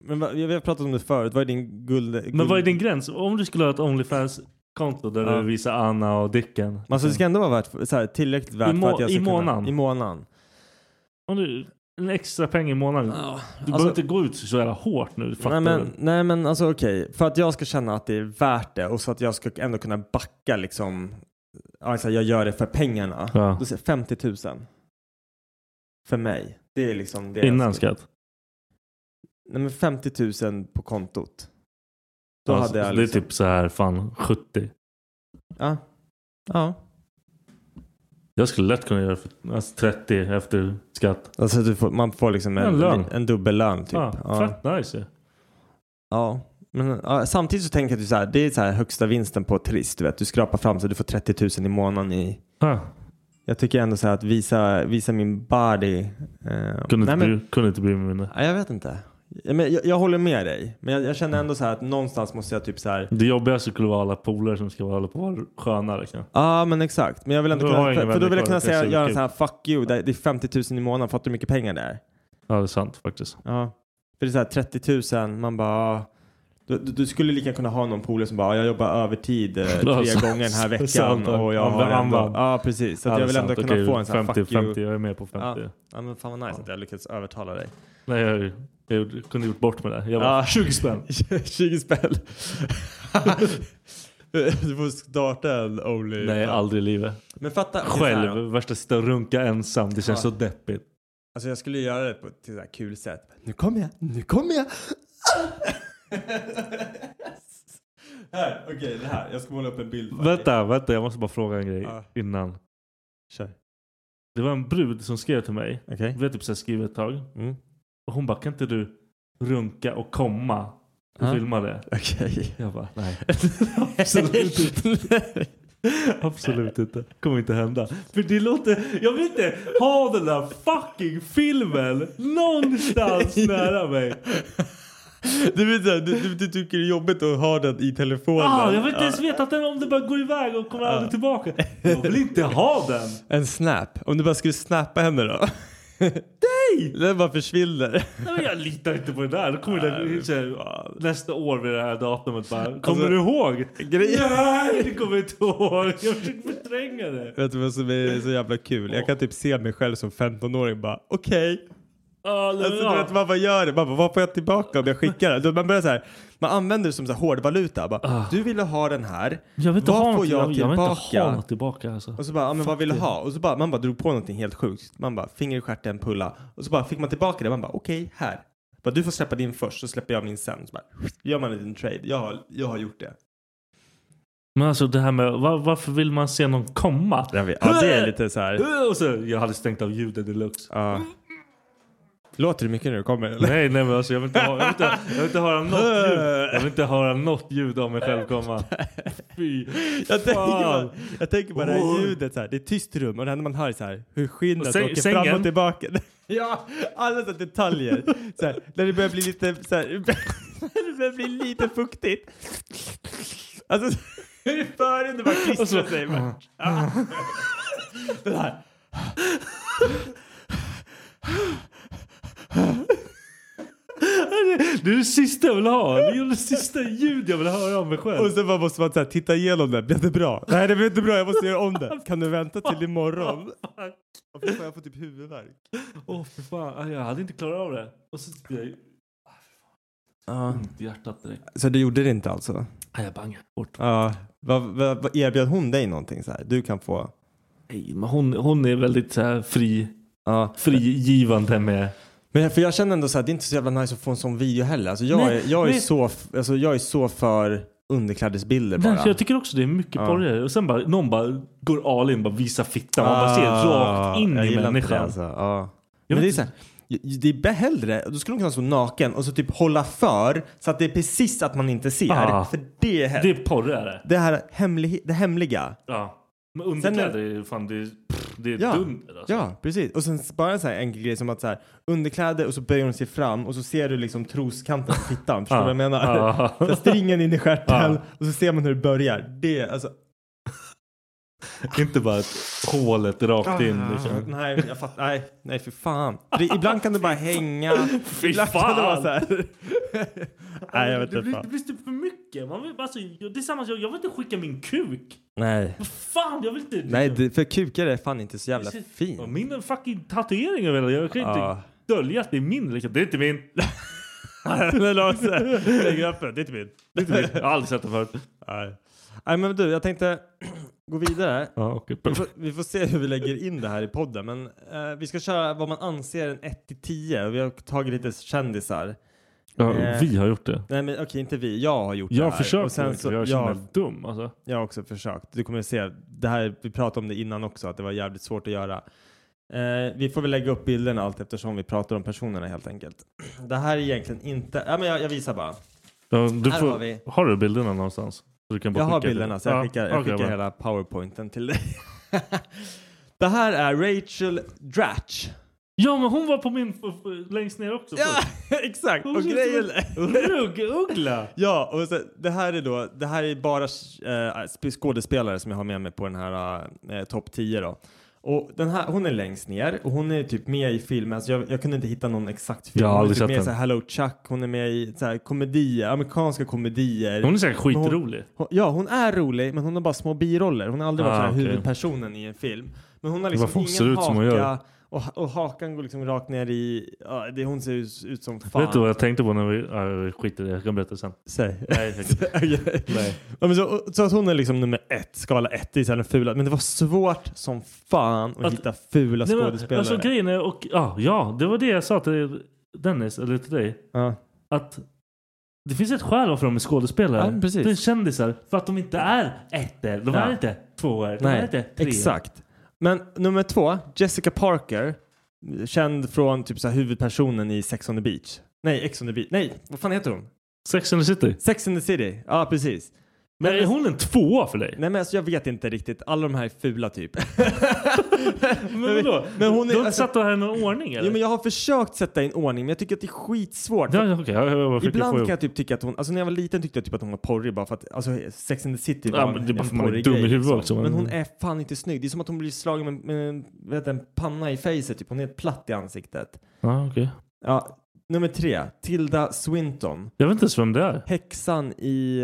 Speaker 7: Men vad- vi har pratat om det förut. Vad är din guld... guld...
Speaker 8: Men vad är din gräns? Om du skulle ha ett Onlyfans-konto där
Speaker 7: Ja.
Speaker 8: du visar Anna och Dicken.
Speaker 7: Men Alltså, det ska ändå vara värt, så här, tillräckligt värt
Speaker 8: I må-
Speaker 7: för att jag ska
Speaker 8: i
Speaker 7: kunna...
Speaker 8: månaden.
Speaker 7: I månaden.
Speaker 8: Om du, en extra peng i månaden. Du
Speaker 7: Alltså-
Speaker 8: behöver inte gå ut så jävla hårt nu. Fattar
Speaker 7: Nej
Speaker 8: du?
Speaker 7: men, nej men alltså okej. För att jag ska känna att det är värt det och så att jag ska ändå kunna backa liksom. Alltså jag gör det för pengarna.
Speaker 8: Ja.
Speaker 7: Då säger jag 50 000. För mig. Det är liksom det. jag
Speaker 8: Innan
Speaker 7: ska-
Speaker 8: skatt.
Speaker 7: Nej men 50 000 på kontot. Då
Speaker 8: Alltså,
Speaker 7: hade jag
Speaker 8: Det är
Speaker 7: liksom...
Speaker 8: typ så här fan 70.
Speaker 7: Ja. Ja.
Speaker 8: Jag skulle lätt kunna göra för, alltså 30 efter skatt.
Speaker 7: Alltså du får, man får liksom en,
Speaker 8: En lön.
Speaker 7: en dubbellön typ.
Speaker 8: Ja,
Speaker 7: Ja.
Speaker 8: Fett nice ju.
Speaker 7: Ja, men ja, samtidigt så tänker jag att du så här, det är så här högsta vinsten på Triss. Du, vet, du skrapar fram så du får 30 000 i månaden i...
Speaker 8: Ja.
Speaker 7: Jag tycker ändå så här att visa, visa min body. eh,
Speaker 8: Kunde,
Speaker 7: nej,
Speaker 8: inte
Speaker 7: men,
Speaker 8: bry, kunde inte bry mig mindre.
Speaker 7: ja, jag vet inte. Ja, men jag, jag håller med dig, men jag, jag känner ändå så här att någonstans måste jag typ så här. Ja,
Speaker 8: Det jobbigaste skulle vara alla polare som ska hålla på och vara liksom. skönare. Kan.
Speaker 7: ah, men exakt. Men jag vill ändå
Speaker 8: Då
Speaker 7: kunna,
Speaker 8: har jag
Speaker 7: för,
Speaker 8: ingen
Speaker 7: för då
Speaker 8: vänner
Speaker 7: vill jag
Speaker 8: kvar,
Speaker 7: kunna
Speaker 8: det är
Speaker 7: säga,
Speaker 8: så
Speaker 7: göra en
Speaker 8: kul.
Speaker 7: sån här fuck you, det det är 50 000 i månaden, fattar du hur mycket pengar det är?
Speaker 8: Ja, det är sant faktiskt.
Speaker 7: Ja, för det är så här 30 000, man bara... ah. Du, du, du skulle lika kunna ha någon polare som bara, ah, jag jobbar övertid
Speaker 8: *laughs*
Speaker 7: eh, tre
Speaker 8: Ja, sant.
Speaker 7: gånger den
Speaker 8: *laughs*
Speaker 7: här veckan
Speaker 8: Sant.
Speaker 7: och jag
Speaker 8: Han
Speaker 7: har
Speaker 8: vann,
Speaker 7: ändå... Ja,
Speaker 8: vann.
Speaker 7: precis. Så
Speaker 8: Ja,
Speaker 7: att
Speaker 8: det
Speaker 7: jag
Speaker 8: är
Speaker 7: vill ändå
Speaker 8: sant.
Speaker 7: kunna
Speaker 8: Okej,
Speaker 7: få en sån här
Speaker 8: 50,
Speaker 7: fuck you.
Speaker 8: 50, jag är med på 50.
Speaker 7: Ja. ja, men fan vad nice att jag lyckades övertala dig.
Speaker 8: Nej, jag, jag, gjorde- kunde gjort bort med det. Jag bara, *laughs*
Speaker 7: Ja.
Speaker 8: 20
Speaker 7: *laughs*
Speaker 8: spänn.
Speaker 7: 20
Speaker 8: *laughs*
Speaker 7: spänn. *laughs* du får starta en Only.
Speaker 8: Nej, aldrig i livet.
Speaker 7: Men fatta. det är så här
Speaker 8: Själv,
Speaker 7: då.
Speaker 8: värsta sitta och runka ensam. Det känns
Speaker 7: Ja.
Speaker 8: så deppigt.
Speaker 7: Alltså jag skulle göra det på ett så här kul sätt. Nu kommer jag, nu kommer jag. *laughs* här, okej det här. Jag ska måla upp en bild. för dig.
Speaker 8: Vänta, vänta. Jag måste bara fråga en grej
Speaker 7: Ja.
Speaker 8: innan.
Speaker 7: Kör.
Speaker 8: Det var en brud som skrev till mig.
Speaker 7: Okej.
Speaker 8: Vi har typ så här skrivit ett tag.
Speaker 7: Mm.
Speaker 8: Och hon bara, kan inte du runka och komma och
Speaker 7: Ja.
Speaker 8: filma det?
Speaker 7: *laughs* Okej.
Speaker 8: Jag bara, nej. Absolut inte. Absolut inte. Kommer inte hända. För det låter... Jag vill inte ha den där fucking filmen någonstans nära mig.
Speaker 7: Du, vet, så här, du, du, du tycker det är jobbigt att ha den i telefonen.
Speaker 8: Ah, jag vill inte
Speaker 7: Ja.
Speaker 8: ens veta att den, om den bara går iväg och kommer aldrig *laughs* tillbaka. Jag vill inte ha den.
Speaker 7: En snap. Om du bara skulle snappa henne då? *laughs* Nej! Den bara försvinner.
Speaker 8: Nej, men jag litar inte på det där. Då kommer den, så här, nästa år vid det här datumet bara. Kommer
Speaker 7: Alltså-
Speaker 8: du ihåg?
Speaker 7: Grejen-
Speaker 8: Nej, det kommer jag inte ihåg. Jag försöker förtränga det.
Speaker 7: *laughs* Vet du vad som är så jävla kul? Jag kan typ se mig själv som 15-åring bara okej.
Speaker 8: Ah, nej,
Speaker 7: Alltså,
Speaker 8: ja.
Speaker 7: du vet, man bara gör det. Man bara, vad får jag tillbaka om jag skickar det? Då Man börjar så här, man använder det som så här hårdvaluta. Bara, du ville ha den här.
Speaker 8: Jag vill inte
Speaker 7: vad
Speaker 8: ha
Speaker 7: får
Speaker 8: något,
Speaker 7: jag
Speaker 8: jag, jag vill inte
Speaker 7: tillbaka?
Speaker 8: ha något tillbaka alltså.
Speaker 7: och så bara, ja, men vad vill du ha? Och så bara, man bara drog på någonting helt sjukt. Man bara, finger i stjärten, pulla. Och så bara fick man tillbaka det. Man bara, okej, här. Bara, du får släppa din först så släpper jag min sen. Så bara, gör man en liten trade. Jag har, jag har gjort det.
Speaker 8: Men alltså det här med va- varför vill man se någon komma?
Speaker 7: Ja, det är lite så här.
Speaker 8: Och så, jag hade stängt av ljudet deluxe.
Speaker 7: Ja. Låter det mycket när du kommer? Eller?
Speaker 8: Nej nej men alltså jag vill inte, ha, jag vill inte, jag vill inte höra något ljud. Jag vill inte höra något ljud av mig själv komma. Fy.
Speaker 7: *laughs* Jag tänker,
Speaker 8: Fan. Oh.
Speaker 7: bara, jag tänker bara det här ljudet så här. Det är ett tyst rum och det enda man hör är så här hur skinnet
Speaker 8: Säng-
Speaker 7: åker fram och
Speaker 8: sängen. *laughs*
Speaker 7: tillbaka. Ja, alla så här detaljer. Så här, när det börjar bli lite så här, *laughs* när det börjar bli lite fuktigt. Alltså, *laughs* hur är förhuden det bara klistrar
Speaker 8: Och så-
Speaker 7: sig. Bara. Ah. Det här.
Speaker 8: Det är det sista jag vill ha. Det är det sista ljud jag vill höra av mig själv.
Speaker 7: Och sen bara måste man så här, titta igenom det. Blev det bra? Nej, det blev inte bra. Jag måste göra om
Speaker 8: *laughs*
Speaker 7: det. Kan du vänta till imorgon? Och fy fan, jag får typ huvudvärk.
Speaker 8: Åh fy fan, jag hade inte klarat av det. Och så fick jag ont i hjärtat direkt.
Speaker 7: Så du gjorde det inte alltså?
Speaker 8: Nej jag bangar bort.
Speaker 7: Ja, vad, vad, vad erbjöd hon dig någonting så här? Du kan få.
Speaker 8: Nej, men hon, hon är väldigt så här, fri,
Speaker 7: Ja.
Speaker 8: frigivande med
Speaker 7: Men för jag känner ändå så här, det är inte så jävla nice att få en sån video heller. Alltså jag,
Speaker 8: Nej,
Speaker 7: är, jag, är,
Speaker 8: men-
Speaker 7: så, f- alltså jag är så för underklädesbilder bara.
Speaker 8: Därför jag tycker också det är mycket
Speaker 7: Ja.
Speaker 8: porrigare. Och sen bara, någon bara går all in, bara visar fittan. Man bara
Speaker 7: Ah,
Speaker 8: ser rakt in
Speaker 7: jag
Speaker 8: i
Speaker 7: gillar inte
Speaker 8: människan.
Speaker 7: Det, alltså. ja.
Speaker 8: Jag
Speaker 7: Men det är
Speaker 8: vet
Speaker 7: så här, det är bä- hellre, då skulle hon kunna stå naken och så typ hålla för så att det är precis att man inte ser.
Speaker 8: Ah.
Speaker 7: För det är
Speaker 8: Det
Speaker 7: det,
Speaker 8: är porrigare.
Speaker 7: det här hemlig, det hemliga.
Speaker 8: Ja. Men underkläder är ju fan, det är, pff, det är
Speaker 7: Ja.
Speaker 8: dunder alltså.
Speaker 7: Ja, precis. Och sen bara en sån här enkel grej som att så här, underkläder och så böjer hon sig fram och så ser du liksom troskanten på
Speaker 8: *laughs*
Speaker 7: fittan. Förstår du vad jag menar?
Speaker 8: Ja.
Speaker 7: Så här, stringen in i stjärten
Speaker 8: Ja.
Speaker 7: och så ser man hur det börjar. Det, alltså,
Speaker 8: Inte bara ett hålet rakt in liksom.
Speaker 7: nej, jag fattar, nej, nej för fan. För det, ibland kan det bara hänga.
Speaker 8: Fy
Speaker 7: Ibland kan det vara
Speaker 8: fan!
Speaker 7: så här. nej, jag vet
Speaker 8: det,
Speaker 7: inte
Speaker 8: blir, det
Speaker 7: fan.
Speaker 8: blir typ för mycket. Man vill, alltså, jag, det är samma sak, jag vill inte skicka min kuk.
Speaker 7: Nej,
Speaker 8: Vad fan, jag vill inte.
Speaker 7: nej det, för kukar är fan inte så jävla
Speaker 8: Ja,
Speaker 7: fin.
Speaker 8: Min fucking tatuering över hela. Jag kan inte
Speaker 7: Ja.
Speaker 8: dölja att det är min. Liksom. Det är inte min.
Speaker 7: *laughs* Eller la så här, lägger upp den. Det är inte min.
Speaker 8: Det är inte min. Jag har aldrig sett den förut.
Speaker 7: Nej. nej, men du, jag tänkte *clears throat* gå vidare.
Speaker 8: Ja, okay.
Speaker 7: Vi får, vi får se hur vi lägger in det här i podden, men eh, vi ska köra vad man anser en 1 till 10. Vi har tagit lite kändisar.
Speaker 8: Ja, vi har gjort det.
Speaker 7: Nej, men okej, inte vi. Jag har gjort det
Speaker 8: Jag
Speaker 7: här.
Speaker 8: försöker
Speaker 7: Och sen så,
Speaker 8: jag känner
Speaker 7: jag,
Speaker 8: mig dum alltså.
Speaker 7: jag har också försökt. Du kommer att se. Det här, vi pratade om det innan också, att det var jävligt svårt att göra. Eh, vi får väl lägga upp bilderna allt eftersom vi pratar om personerna helt enkelt. Det här är egentligen inte... Ja, men jag, jag visar bara.
Speaker 8: Ja, du
Speaker 7: Här
Speaker 8: får,
Speaker 7: har vi.
Speaker 8: har du bilderna någonstans? Så Du kan bara
Speaker 7: Jag har
Speaker 8: skicka det.
Speaker 7: bilderna så jag
Speaker 8: Ja,
Speaker 7: skickar, jag
Speaker 8: okej,
Speaker 7: skickar
Speaker 8: men-
Speaker 7: hela *laughs* powerpointen till dig. det här är Rachel Dratch.
Speaker 8: Ja men hon var på min f- f- längst ner också.
Speaker 7: Ja,
Speaker 8: först.
Speaker 7: *laughs* exakt.
Speaker 8: Hon
Speaker 7: Och
Speaker 8: ser ut
Speaker 7: grejen...
Speaker 8: som en Ruggugla!
Speaker 7: *laughs* Ja, och så, det här är då, det här är bara eh, sp- skådespelare som jag har med mig på den här eh, topp 10 då. Och den här, hon är längst ner och hon är typ med i filmen, alltså jag, jag kunde inte hitta någon exakt film.
Speaker 8: Jag har
Speaker 7: hon är
Speaker 8: aldrig
Speaker 7: typ
Speaker 8: sett
Speaker 7: med i
Speaker 8: den.
Speaker 7: så här Hello Chuck, hon är med i så här komedier, amerikanska komedier.
Speaker 8: Hon är säkert
Speaker 7: Men hon-
Speaker 8: skitrolig.
Speaker 7: hon- Ja, hon är rolig, men hon har bara små biroller. Hon har aldrig varit
Speaker 8: Ah,
Speaker 7: så här
Speaker 8: okej.
Speaker 7: huvudpersonen i en film. Men hon har
Speaker 8: Varför
Speaker 7: liksom
Speaker 8: hon
Speaker 7: ingen
Speaker 8: ser ut
Speaker 7: haka
Speaker 8: som hon gör.
Speaker 7: Och, och hakan går liksom rakt ner i... Ja, det, hon ser ut, ut som fan.
Speaker 8: Vet du vad jag tänkte på när vi... Ja, jag skiter i det, jag kan berätta sen.
Speaker 7: Säg.
Speaker 8: Nej, jag kan inte.
Speaker 7: Okej.
Speaker 8: Nej.
Speaker 7: Ja, men så, så att hon är liksom nummer ett, skala ett, det är så här den fula. Men det var svårt som fan att,
Speaker 8: Att-
Speaker 7: hitta fula
Speaker 8: Nej, men,
Speaker 7: skådespelare.
Speaker 8: Alltså grejen är, och, ja, ja, det var det jag sa till Dennis, eller till dig.
Speaker 7: ja.
Speaker 8: Att det finns ett skäl varför de är skådespelare.
Speaker 7: Ja, precis.
Speaker 8: Det är kändisar. För att de inte är ettor, de
Speaker 7: Ja.
Speaker 8: är inte tvåor, de är
Speaker 7: Nej,
Speaker 8: inte treor.
Speaker 7: exakt. Men nummer två, Jessica Parker, känd från typ så här huvudpersonen i Sex on the beach. Nej, Ex on the beach. Nej, vad fan heter hon?
Speaker 8: Sex and the City.
Speaker 7: Sex in the city. Ja, precis.
Speaker 8: Men är hon en tvåa för dig?
Speaker 7: Nej men alltså, jag vet inte riktigt, alla de här är fula typ.
Speaker 8: *laughs* Men vadå?
Speaker 7: Men hon är-
Speaker 8: de
Speaker 7: alltså-
Speaker 8: satte här i någon ordning eller?
Speaker 7: jo, men jag har försökt sätta in ordning men jag tycker att det är skitsvårt.
Speaker 8: Ja, ja, okej. Jag, jag, jag försöker
Speaker 7: Ibland
Speaker 8: få
Speaker 7: kan
Speaker 8: ihop.
Speaker 7: jag typ tycka att hon, alltså när jag var liten tyckte jag typ att hon var porrig bara för att, alltså Sex and the City var
Speaker 8: Ja, men det är bara
Speaker 7: en
Speaker 8: för man är
Speaker 7: porrig
Speaker 8: dum i
Speaker 7: grej, liksom.
Speaker 8: huvudet också,
Speaker 7: Men...
Speaker 8: men-
Speaker 7: hon är fan inte snygg. Det är som att hon blir slagen med, med vet, en panna i facet typ. Hon är helt platt i ansiktet.
Speaker 8: Ja, okej.
Speaker 7: Ja, nummer tre. Tilda Swinton.
Speaker 8: Jag vet inte ens vem det är.
Speaker 7: Häxan i,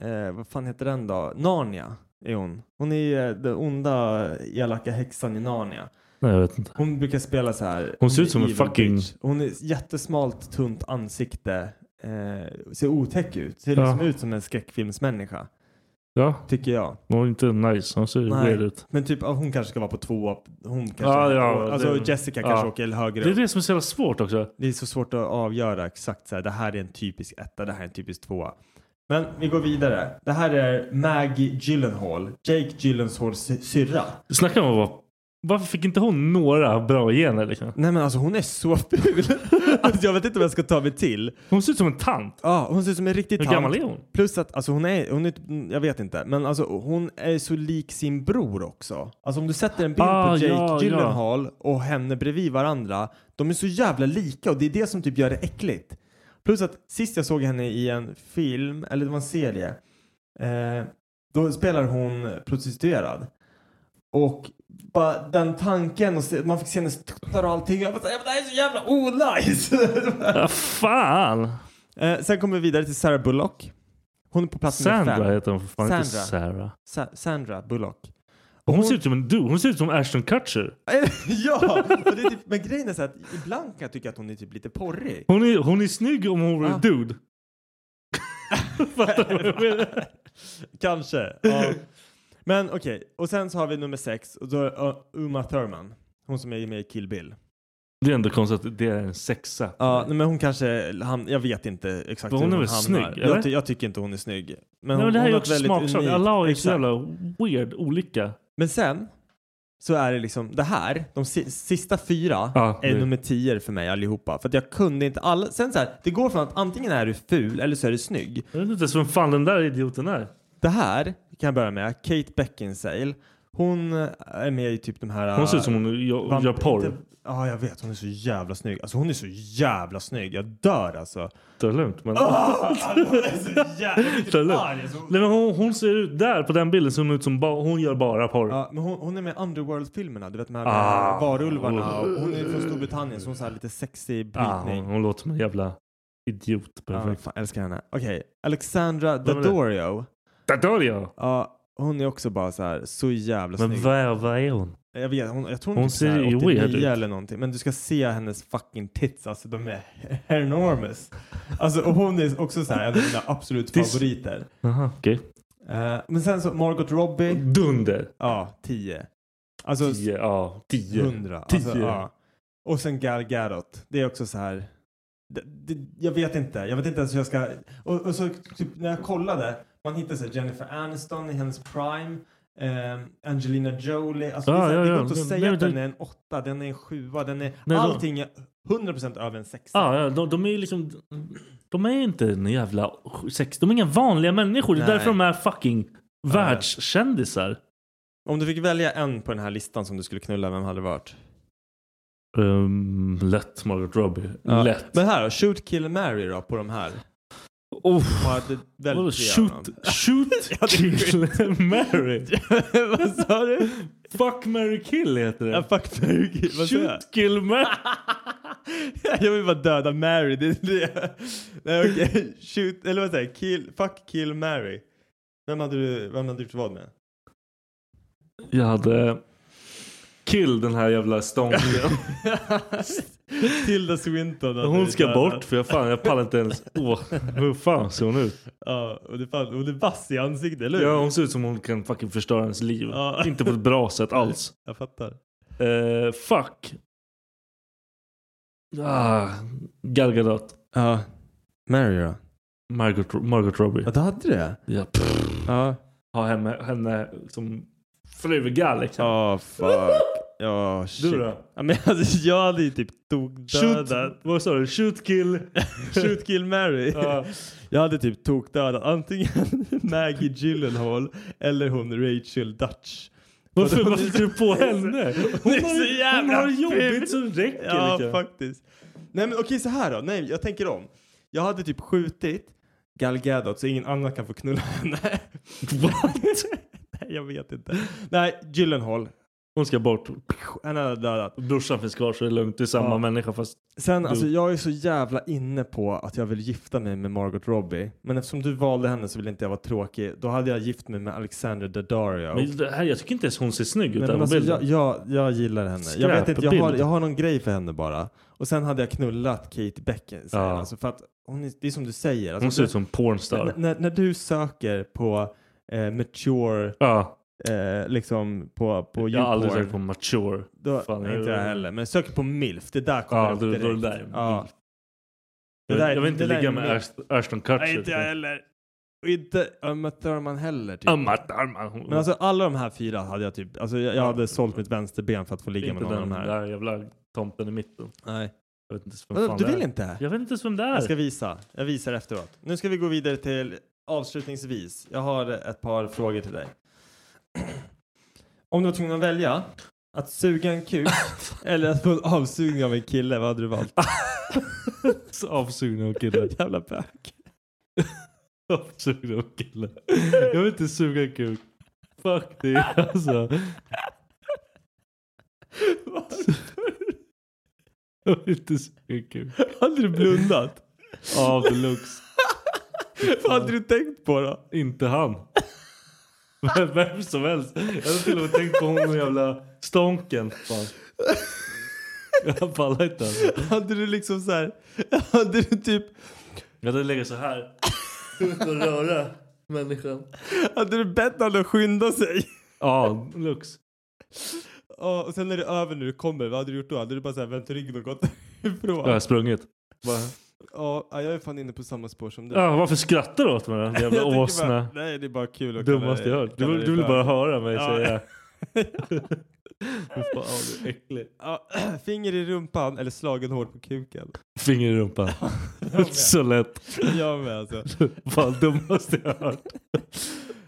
Speaker 7: eh, eh, vad fan heter den då? Narnia är hon. Hon är eh, den onda elaka häxan i Narnia.
Speaker 8: Nej, jag vet inte.
Speaker 7: Hon brukar spela så här.
Speaker 8: Hon ser ut
Speaker 7: är
Speaker 8: som en
Speaker 7: evil
Speaker 8: fucking-
Speaker 7: bitch. Hon är jättesmalt, tunt ansikte. Eh, ser otäck ut. Ser
Speaker 8: Ja.
Speaker 7: liksom ut som en skräckfilmsmänniska.
Speaker 8: Ja,
Speaker 7: Tycker jag.
Speaker 8: hon är inte nice. Hon ser
Speaker 7: Nej.
Speaker 8: weird ut.
Speaker 7: Men typ, ja, hon kanske ska vara på två. Hon kanske,
Speaker 8: Ja, ja,
Speaker 7: alltså
Speaker 8: det-
Speaker 7: Jessica
Speaker 8: ja.
Speaker 7: kanske åker högre
Speaker 8: Det är
Speaker 7: upp.
Speaker 8: det som är så jävla svårt också.
Speaker 7: Det är så svårt att avgöra exakt så här. Det här är en typisk etta, det här är en typisk tvåa. Men vi går vidare. Det här är Maggie Gyllenhaal. Jake Gyllenhaals sy- syrra.
Speaker 8: Snacka om att vara... Varför fick inte hon några bra gener liksom?
Speaker 7: Nej men alltså hon är så ful. *laughs* alltså, jag vet inte vad jag ska ta mig till.
Speaker 8: Hon ser ut som en tant.
Speaker 7: Ja, hon ser ut som en riktig
Speaker 8: Hur
Speaker 7: tant.
Speaker 8: gammal är hon?
Speaker 7: Plus att alltså hon är, hon är, typ- jag vet inte, men alltså hon är så lik sin bror också. Alltså om du sätter en bild
Speaker 8: Ah,
Speaker 7: på Jake
Speaker 8: ja, ja.
Speaker 7: Gyllenhaal och henne bredvid varandra, de är så jävla lika och det är det som typ gör det äckligt. Plus att sist jag såg henne i en film, eller det var en serie, eh, då spelar hon prostituerad. Och bara den tanken och se, man fick se hennes tuttar och allting. Jag bara, så här, det här är så jävla onajs! *laughs*
Speaker 8: Ah, fan!
Speaker 7: Eh, sen kommer vi vidare till Sarah Bullock. Hon är på plats nummer
Speaker 8: Sandra
Speaker 7: fem.
Speaker 8: heter hon för fan, inte
Speaker 7: Sandra.
Speaker 8: Sarah.
Speaker 7: Sa- Sandra Bullock.
Speaker 8: Hon, ser ut som en du. Hon ser ut som Ashton Kutcher.
Speaker 7: *laughs* ja, och det är typ, men grejen är så att ibland kan jag tycka att hon är typ lite porrig.
Speaker 8: Hon är, hon är snygg om hon vore
Speaker 7: Ah.
Speaker 8: en dude. *laughs* Fattar du vad jag menar?
Speaker 7: *laughs* Kanske. Ja. Men okej, och sen så har vi nummer sex och då är uh, Uma Thurman. Hon som är med i Kill Bill.
Speaker 8: Det är ändå konstigt att det är en sexa.
Speaker 7: Ja, nej, men hon kanske, ham- jag vet inte exakt
Speaker 8: Mm. Men hon är
Speaker 7: hur hon
Speaker 8: väl
Speaker 7: hamnar.
Speaker 8: snygg, eller?
Speaker 7: jag, ty- jag tycker inte hon är snygg. Men,
Speaker 8: Nej,
Speaker 7: hon,
Speaker 8: men det här
Speaker 7: hon
Speaker 8: är ju
Speaker 7: har
Speaker 8: också
Speaker 7: ett väldigt
Speaker 8: smaksak.
Speaker 7: unikt-
Speaker 8: Alla har ju så
Speaker 7: Exakt.
Speaker 8: jävla weird olika.
Speaker 7: Men sen så är det liksom det här, de si- sista fyra
Speaker 8: Ja,
Speaker 7: är
Speaker 8: det-
Speaker 7: Eh, nummer tio för mig allihopa. För att jag kunde inte alla. Sen så här, det går från att antingen är du ful eller så är du snygg.
Speaker 8: Jag vet inte ens vem fan den där idioten är.
Speaker 7: Det här kan jag börja med, Kate Beckinsale. Hon eh, är med i typ de här... eh,
Speaker 8: Hon ser ut som hon gör, gör porr.
Speaker 7: inte- Ja, jag vet. Hon är så jävla snygg. Alltså hon är så jävla snygg. Jag dör
Speaker 8: *laughs*
Speaker 7: alltså.
Speaker 8: Det är lugnt. Men...
Speaker 7: Hon är så *laughs*
Speaker 8: Det är
Speaker 7: jävla
Speaker 8: lugnt.
Speaker 7: arg. Så-
Speaker 8: Nej, men hon, hon ser ut där på den bilden som hon ut som ba, hon gör bara porr.
Speaker 7: Ja, men hon, hon är med i Underworld-filmerna, du vet de här
Speaker 8: Ah.
Speaker 7: med varulvarna. Och hon är från Storbritannien så hon har lite sexig
Speaker 8: Ah, hon,
Speaker 7: brytning.
Speaker 8: hon låter som en jävla idiot.
Speaker 7: Ja,
Speaker 8: Perfekt.
Speaker 7: fan, älskar henne. Okej, Alexandra
Speaker 8: Vem är det?
Speaker 7: Daddario.
Speaker 8: Där dör jag!
Speaker 7: Ja, hon är också bara så här så jävla
Speaker 8: Men
Speaker 7: snygg.
Speaker 8: vad är, vad är hon?
Speaker 7: Jag vet, hon, jag tror
Speaker 8: Hon
Speaker 7: hon
Speaker 8: ser
Speaker 7: ser
Speaker 8: ju
Speaker 7: typ
Speaker 8: weird
Speaker 7: 89
Speaker 8: ut.
Speaker 7: eller någonting. Men du ska se hennes fucking tits, alltså de är *laughs* enormous. Alltså och hon är också så här en av mina absolut
Speaker 8: Det är s-
Speaker 7: favoriter.
Speaker 8: Jaha, okej.
Speaker 7: Eh, men sen så Margot Robbie,
Speaker 8: Dunder!
Speaker 7: ja, 10. Alltså
Speaker 8: Tio, ja. Tio.
Speaker 7: 100. Alltså,
Speaker 8: Tio.
Speaker 7: ja. Och sen Gal Gadot. Det är också så här. Det, det, jag vet inte. Jag vet inte ens hur jag ska. Och, och så typ, när jag kollade. Man hittar så här Jennifer Aniston i hennes prime. ehm, Angelina Jolie. Alltså, det, är
Speaker 8: Ja,
Speaker 7: så här,
Speaker 8: ja,
Speaker 7: det går
Speaker 8: ja.
Speaker 7: inte att
Speaker 8: Nej,
Speaker 7: säga
Speaker 8: men
Speaker 7: att
Speaker 8: det-
Speaker 7: den är en åtta, den är en sjua, den är...
Speaker 8: då-
Speaker 7: allting är 100% över en sexa.
Speaker 8: Ah, ja, de, de är ju liksom... De är inte en jävla sex... De är inga vanliga människor. Det
Speaker 7: Nej.
Speaker 8: är därför de är fucking världskändisar.
Speaker 7: Om du fick välja en på den här listan som du skulle knulla, vem hade det varit?
Speaker 8: Ehm, lätt Margot Robbie.
Speaker 7: Ja.
Speaker 8: Lätt.
Speaker 7: Men här då, shoot, kill, marry då på de här.
Speaker 8: Oh,
Speaker 7: Och hade
Speaker 8: vadå,
Speaker 7: väldigt
Speaker 8: shoot, shoot,
Speaker 7: Ja, det är *laughs*
Speaker 8: kill, marry.
Speaker 7: Vad sa du?
Speaker 8: Fuck, marry, kill heter
Speaker 7: Ja,
Speaker 8: det.
Speaker 7: fuck Mary. Vad sa jag?
Speaker 8: shoot, kill, marry.
Speaker 7: Jag *laughs* vill bara döda Mary. Det är det. Nej, okej. Shoot, eller vad säger jag? Kill, fuck, kill, Mary. Vem hade du, vem hade du gjort vad
Speaker 8: *laughs*
Speaker 7: med?
Speaker 8: Jag hade kill den här jävla *laughs* stången.
Speaker 7: Tilda Swinton. hade
Speaker 8: Hon
Speaker 7: du
Speaker 8: ska
Speaker 7: dödat.
Speaker 8: bort för jag, fan, jag pallar inte ens. Åh, hur fan ser hon ut?
Speaker 7: Ja, och det fan, hon är vass i ansiktet, eller hur?
Speaker 8: Ja, hon ser ut som hon kan fucking förstöra ens liv.
Speaker 7: Ja.
Speaker 8: Inte på ett bra sätt alls.
Speaker 7: Jag fattar.
Speaker 8: Eh, fuck. Ah, Gal Gadot.
Speaker 7: Ja. Mary då?
Speaker 8: Margot, Margot Robbie.
Speaker 7: du hade det?
Speaker 8: Ja, pff,
Speaker 7: Ja.
Speaker 8: ha henne, henne som frugal liksom.
Speaker 7: Ja, fuck. Ja, shit.
Speaker 8: du då?
Speaker 7: Ja, men alltså, jag hade ju typ tokdödat.
Speaker 8: Shoot, vad sa du? Shoot *laughs* kill.
Speaker 7: Shoot, kill, Mary.
Speaker 8: Ja.
Speaker 7: Jag hade typ tokdödat antingen *laughs* Maggie Gyllenhaal eller hon Rachel Dutch.
Speaker 8: Varför varför tror du på henne? Hon
Speaker 7: är så
Speaker 8: har, hon
Speaker 7: jävla
Speaker 8: har
Speaker 7: ful.
Speaker 8: jobbigt som räcker.
Speaker 7: Ja,
Speaker 8: liksom.
Speaker 7: faktiskt. Nej, men okej så här då. Nej, jag tänker om. Jag hade typ skjutit Gal Gadot så ingen annan kan få knulla
Speaker 8: *laughs*
Speaker 7: henne. What? *laughs* Nej, jag vet inte. Nej, Gyllenhaal.
Speaker 8: Hon ska bort.
Speaker 7: Han hade dödat.
Speaker 8: Brorsan finns kvar så det är lugnt. Det är samma
Speaker 7: Ja.
Speaker 8: människa fast...
Speaker 7: Sen, alltså
Speaker 8: Du.
Speaker 7: jag är så jävla inne på att jag vill gifta mig med Margot Robbie. Men eftersom du valde henne så vill inte jag vara tråkig. Då hade jag gift mig med Alexander Daddario.
Speaker 8: Men det här, jag tycker inte ens hon ser snygg ut.
Speaker 7: Nej,
Speaker 8: den
Speaker 7: men alltså,
Speaker 8: bilden.
Speaker 7: jag, jag, jag gillar henne. Jag, vet inte, jag,
Speaker 8: Skräpbild.
Speaker 7: har, jag har någon grej för henne bara. Och sen hade jag knullat Kate Beckinsale.
Speaker 8: Ja.
Speaker 7: Alltså, för att hon är, det är som du säger. Alltså,
Speaker 8: Hon ser ut som en pornstar.
Speaker 7: när, när, när du söker på eh, mature,
Speaker 8: Ja,
Speaker 7: eh, liksom på, på
Speaker 8: jag har aldrig
Speaker 7: YouPorn,
Speaker 8: sökt på mature.
Speaker 7: Då,
Speaker 8: Fan,
Speaker 7: nej,
Speaker 8: jag-
Speaker 7: inte jag heller. Men söker på milf, det där kommer
Speaker 8: Ja,
Speaker 7: upp
Speaker 8: då- då är
Speaker 7: direkt.
Speaker 8: det där.
Speaker 7: Ja.
Speaker 8: Jag,
Speaker 7: där-
Speaker 8: jag vill inte
Speaker 7: det där
Speaker 8: ligga
Speaker 7: är
Speaker 8: med
Speaker 7: milf.
Speaker 8: Ashton- Ashton
Speaker 7: Nej, inte jag
Speaker 8: Kutcher.
Speaker 7: heller. Och inte Uma Thurman heller. Typ.
Speaker 8: Amma Darman. Hon-
Speaker 7: Men alltså alla de här fyra hade jag typ, alltså jag, jag hade sålt mitt vänsterben för att få ligga med någon
Speaker 8: inte
Speaker 7: av
Speaker 8: den
Speaker 7: de här.
Speaker 8: där jävla tomten i mitten.
Speaker 7: Nej.
Speaker 8: Jag vet inte ens vem
Speaker 7: Vadå,
Speaker 8: fan
Speaker 7: du
Speaker 8: det
Speaker 7: vill
Speaker 8: är.
Speaker 7: inte?
Speaker 8: Jag vet inte ens vem det är.
Speaker 7: Jag ska visa. Jag visar efteråt. Nu ska vi gå vidare till avslutningsvis. Jag har ett par frågor till dig. *clears throat* Om du var tvungen att välja att suga en
Speaker 8: *laughs*
Speaker 7: kuk eller att få en avsugning av en kille, vad hade du valt?
Speaker 8: Avsugna och kille.
Speaker 7: *laughs* Jävla bög.
Speaker 8: *laughs* Avsugna och kille. Jag vill inte suga kuk. Fuck det
Speaker 7: *laughs*
Speaker 8: alltså. Jag vill inte suga kuk.
Speaker 7: Hade du blundat?
Speaker 8: Av deluxe.
Speaker 7: *laughs* vad hade du tänkt på då?
Speaker 8: Inte han. Vem- *laughs* Vem som helst. Jag hade till och med tänkt på hon och jävla stånken. Fan. Jag pallar inte alltså.
Speaker 7: Hade du liksom så här, *laughs* hade du typ,
Speaker 8: Jag hade legat så här. Utan att röra människan.
Speaker 7: hade du bett honom att skynda sig?
Speaker 8: Ja, lux.
Speaker 7: Ja, Och sen när det är över nu, kommer, vad hade du gjort då? Hade du bara så här vänt ryggen och gått *laughs*
Speaker 8: Jag har
Speaker 7: ifrån?
Speaker 8: sprungit. Bara,
Speaker 7: Ja, jag är fan inne på samma spår som du.
Speaker 8: Ja, varför skrattar du åt mig då?
Speaker 7: *laughs*
Speaker 8: Jävla
Speaker 7: Jag tänker
Speaker 8: åsna.
Speaker 7: Bara, nej, det är bara kul att
Speaker 8: Dummaste
Speaker 7: kalla dig-
Speaker 8: jag hört. Du,
Speaker 7: kalla
Speaker 8: vill-
Speaker 7: dig
Speaker 8: du vill
Speaker 7: bög. *laughs*
Speaker 8: bara höra mig
Speaker 7: Ja.
Speaker 8: säga. Fan, du är äcklig.
Speaker 7: Ja, *clears throat* finger i rumpan eller slagen hårt på
Speaker 8: *laughs*
Speaker 7: kuken.
Speaker 8: Finger i
Speaker 7: *laughs*
Speaker 8: rumpan. Så lätt.
Speaker 7: Jag med alltså.
Speaker 8: Fan, dummaste jag hört.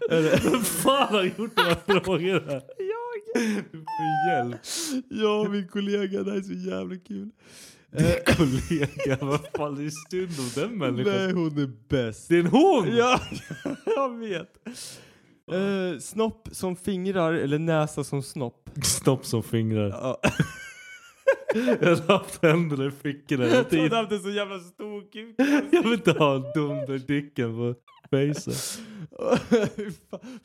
Speaker 8: Vem fan har gjort de här frågorna?
Speaker 7: Jag!
Speaker 8: För hjälp.
Speaker 7: Jag och min kollega, det här är så jävla kul. Eh,
Speaker 8: Kollega, vad fan det är synd om den
Speaker 7: Nej,
Speaker 8: människan.
Speaker 7: hon är bäst.
Speaker 8: Det är en hon!
Speaker 7: Ja, *laughs* jag vet. Eh, snopp som fingrar eller näsa som snopp?
Speaker 8: Snopp som fingrar.
Speaker 7: Ja.
Speaker 8: *laughs* Jag hade haft händerna i fickorna hela
Speaker 7: Jag trodde
Speaker 8: tiden.
Speaker 7: haft en så jävla stor kuk.
Speaker 8: *laughs* Jag vill inte ha dunderdicken på
Speaker 7: *laughs*
Speaker 8: facet.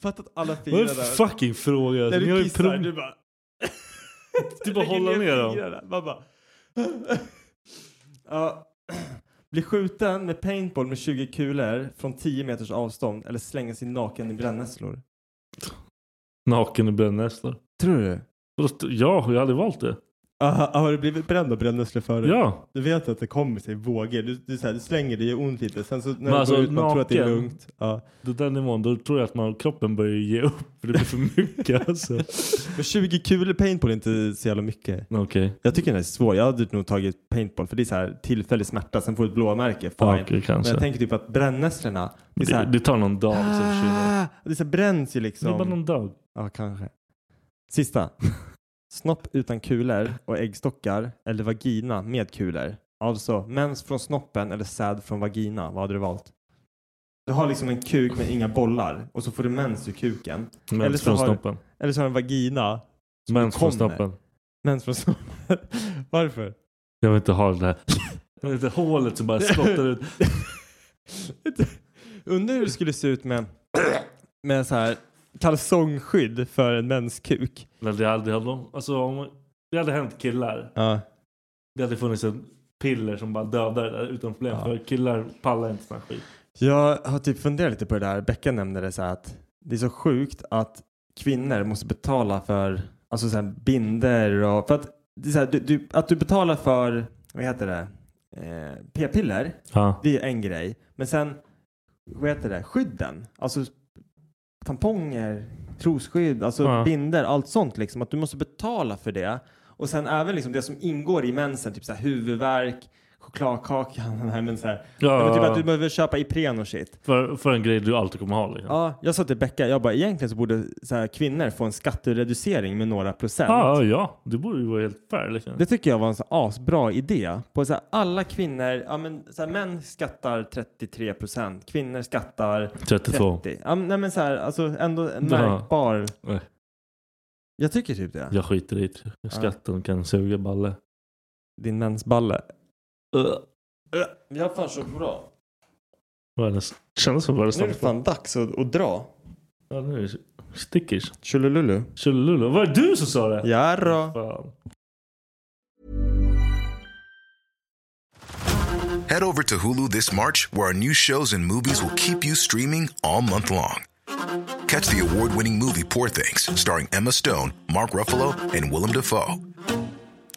Speaker 7: Fattat alla fingrar
Speaker 8: Vad är
Speaker 7: där.
Speaker 8: en fucking fråga?
Speaker 7: När
Speaker 8: Alltså, ni har
Speaker 7: du
Speaker 8: ju
Speaker 7: kissar,
Speaker 8: prov...
Speaker 7: du bara...
Speaker 8: Du bara
Speaker 7: Lägger
Speaker 8: hålla ner dem.
Speaker 7: fingrarna. Man bara... *laughs* ja. *clears throat* Bli skjuten med paintball med 20 kulor från 10 meters avstånd eller slänga sig naken i brännässlor.
Speaker 8: Naken i brännässlor.
Speaker 7: Tror du?
Speaker 8: Vadå, Ja, jag hade valt det.
Speaker 7: Aha, har du blivit bränd av brännässlor förut?
Speaker 8: Ja.
Speaker 7: Du vet att det kommer sig i vågor. Du, du, så här, du slänger, det gör ont lite. Sen så när
Speaker 8: Men
Speaker 7: du
Speaker 8: alltså,
Speaker 7: går ut, man tror att det är
Speaker 8: naken.
Speaker 7: lugnt. Ja.
Speaker 8: Då den nivån, då tror jag att man, kroppen börjar ge upp. För det blir för mycket *laughs* alltså.
Speaker 7: Men 20 kulor paintball är inte så jävla mycket.
Speaker 8: Okej.
Speaker 7: Jag tycker den är svår. Jag hade nog tagit paintball för det är så här tillfällig smärta. Sen får du ett blåmärke. Fine.
Speaker 8: Ja, okej,
Speaker 7: Men jag
Speaker 8: kanske.
Speaker 7: tänker typ att brännässlorna, det är så
Speaker 8: Det,
Speaker 7: här,
Speaker 8: det tar någon dag. liksom, så försvinner det.
Speaker 7: Ah, det så bränns ju
Speaker 8: Det är bara
Speaker 7: liksom.
Speaker 8: någon dag.
Speaker 7: Ja, kanske. Sista. *laughs* Snopp utan kulor och äggstockar eller vagina med kulor. Alltså mens från snoppen eller säd från vagina. Vad hade du valt? Du har liksom en kuk med inga bollar och så får du mens ur kuken. Eller
Speaker 8: Mens
Speaker 7: så
Speaker 8: från
Speaker 7: har-
Speaker 8: snoppen.
Speaker 7: Eller så har du en vagina. som
Speaker 8: Mens från
Speaker 7: kommer.
Speaker 8: snoppen.
Speaker 7: Mens från snoppen. *laughs* Varför? *laughs*
Speaker 8: Jag vill inte ha den *laughs* här. Jag vill inte ha hålet som bara skottar ut.
Speaker 7: Undrar hur det skulle se ut med, med så här kalsongskydd för en menskuk.
Speaker 8: Men det hade, hade, alltså, om, det hade hänt killar.
Speaker 7: Ja.
Speaker 8: Det hade funnits en piller som bara dödar det där utan problem.
Speaker 7: Ja.
Speaker 8: För killar pallar inte sån här skit.
Speaker 7: Jag har typ funderat lite på det där. Becka nämnde det så här att det är så sjukt att kvinnor måste betala för alltså så här binder och för att det är så här, du, du, att du betalar för vad heter det eh, p-piller
Speaker 8: Ja.
Speaker 7: det är en grej men sen vad heter det skydden alltså tamponger trosskydd alltså
Speaker 8: Ja.
Speaker 7: binder allt sånt liksom att du måste betala för det och sen även liksom det som ingår i mensen typ så här huvudvärk chokladkakan nej *laughs* men så här Ja, men typ att du behöver köpa Ipren och shit.
Speaker 8: för, för en grej du alltid kommer ha. Liksom.
Speaker 7: Ja, jag sa till Becka, jag bara egentligen så borde så här, kvinnor få en skattereducering med några procent.
Speaker 8: Ja, Ah, ja, det borde ju vara helt fair. Liksom.
Speaker 7: Det tycker jag var en så asbra idé. På så här, alla kvinnor, ja men så här, män skattar 33 procent, kvinnor skattar
Speaker 8: 32.
Speaker 7: 30. Ja, men, nej men så här, alltså ändå en
Speaker 8: Ja.
Speaker 7: märkbar.
Speaker 8: Nej.
Speaker 7: Jag tycker typ det.
Speaker 8: Jag skiter i det. Skatten kan suga balle.
Speaker 7: Din mensballe.
Speaker 8: Uh.
Speaker 7: Jag fan så bra.
Speaker 8: Världens, kändes som världens
Speaker 7: Nu är det
Speaker 8: snabbaste.
Speaker 7: fan dags att, att dra.
Speaker 8: Ja, nu är det stickers.
Speaker 7: Tjolululu.
Speaker 8: Tjolululu. Var det du som sa det?
Speaker 7: Jarrå.
Speaker 8: Fan.
Speaker 2: Head over to Hulu this March, where our new shows and movies will keep you streaming all month long. Catch the award winning movie Poor Things, starring Emma Stone, Mark Ruffalo, and Willem Dafoe.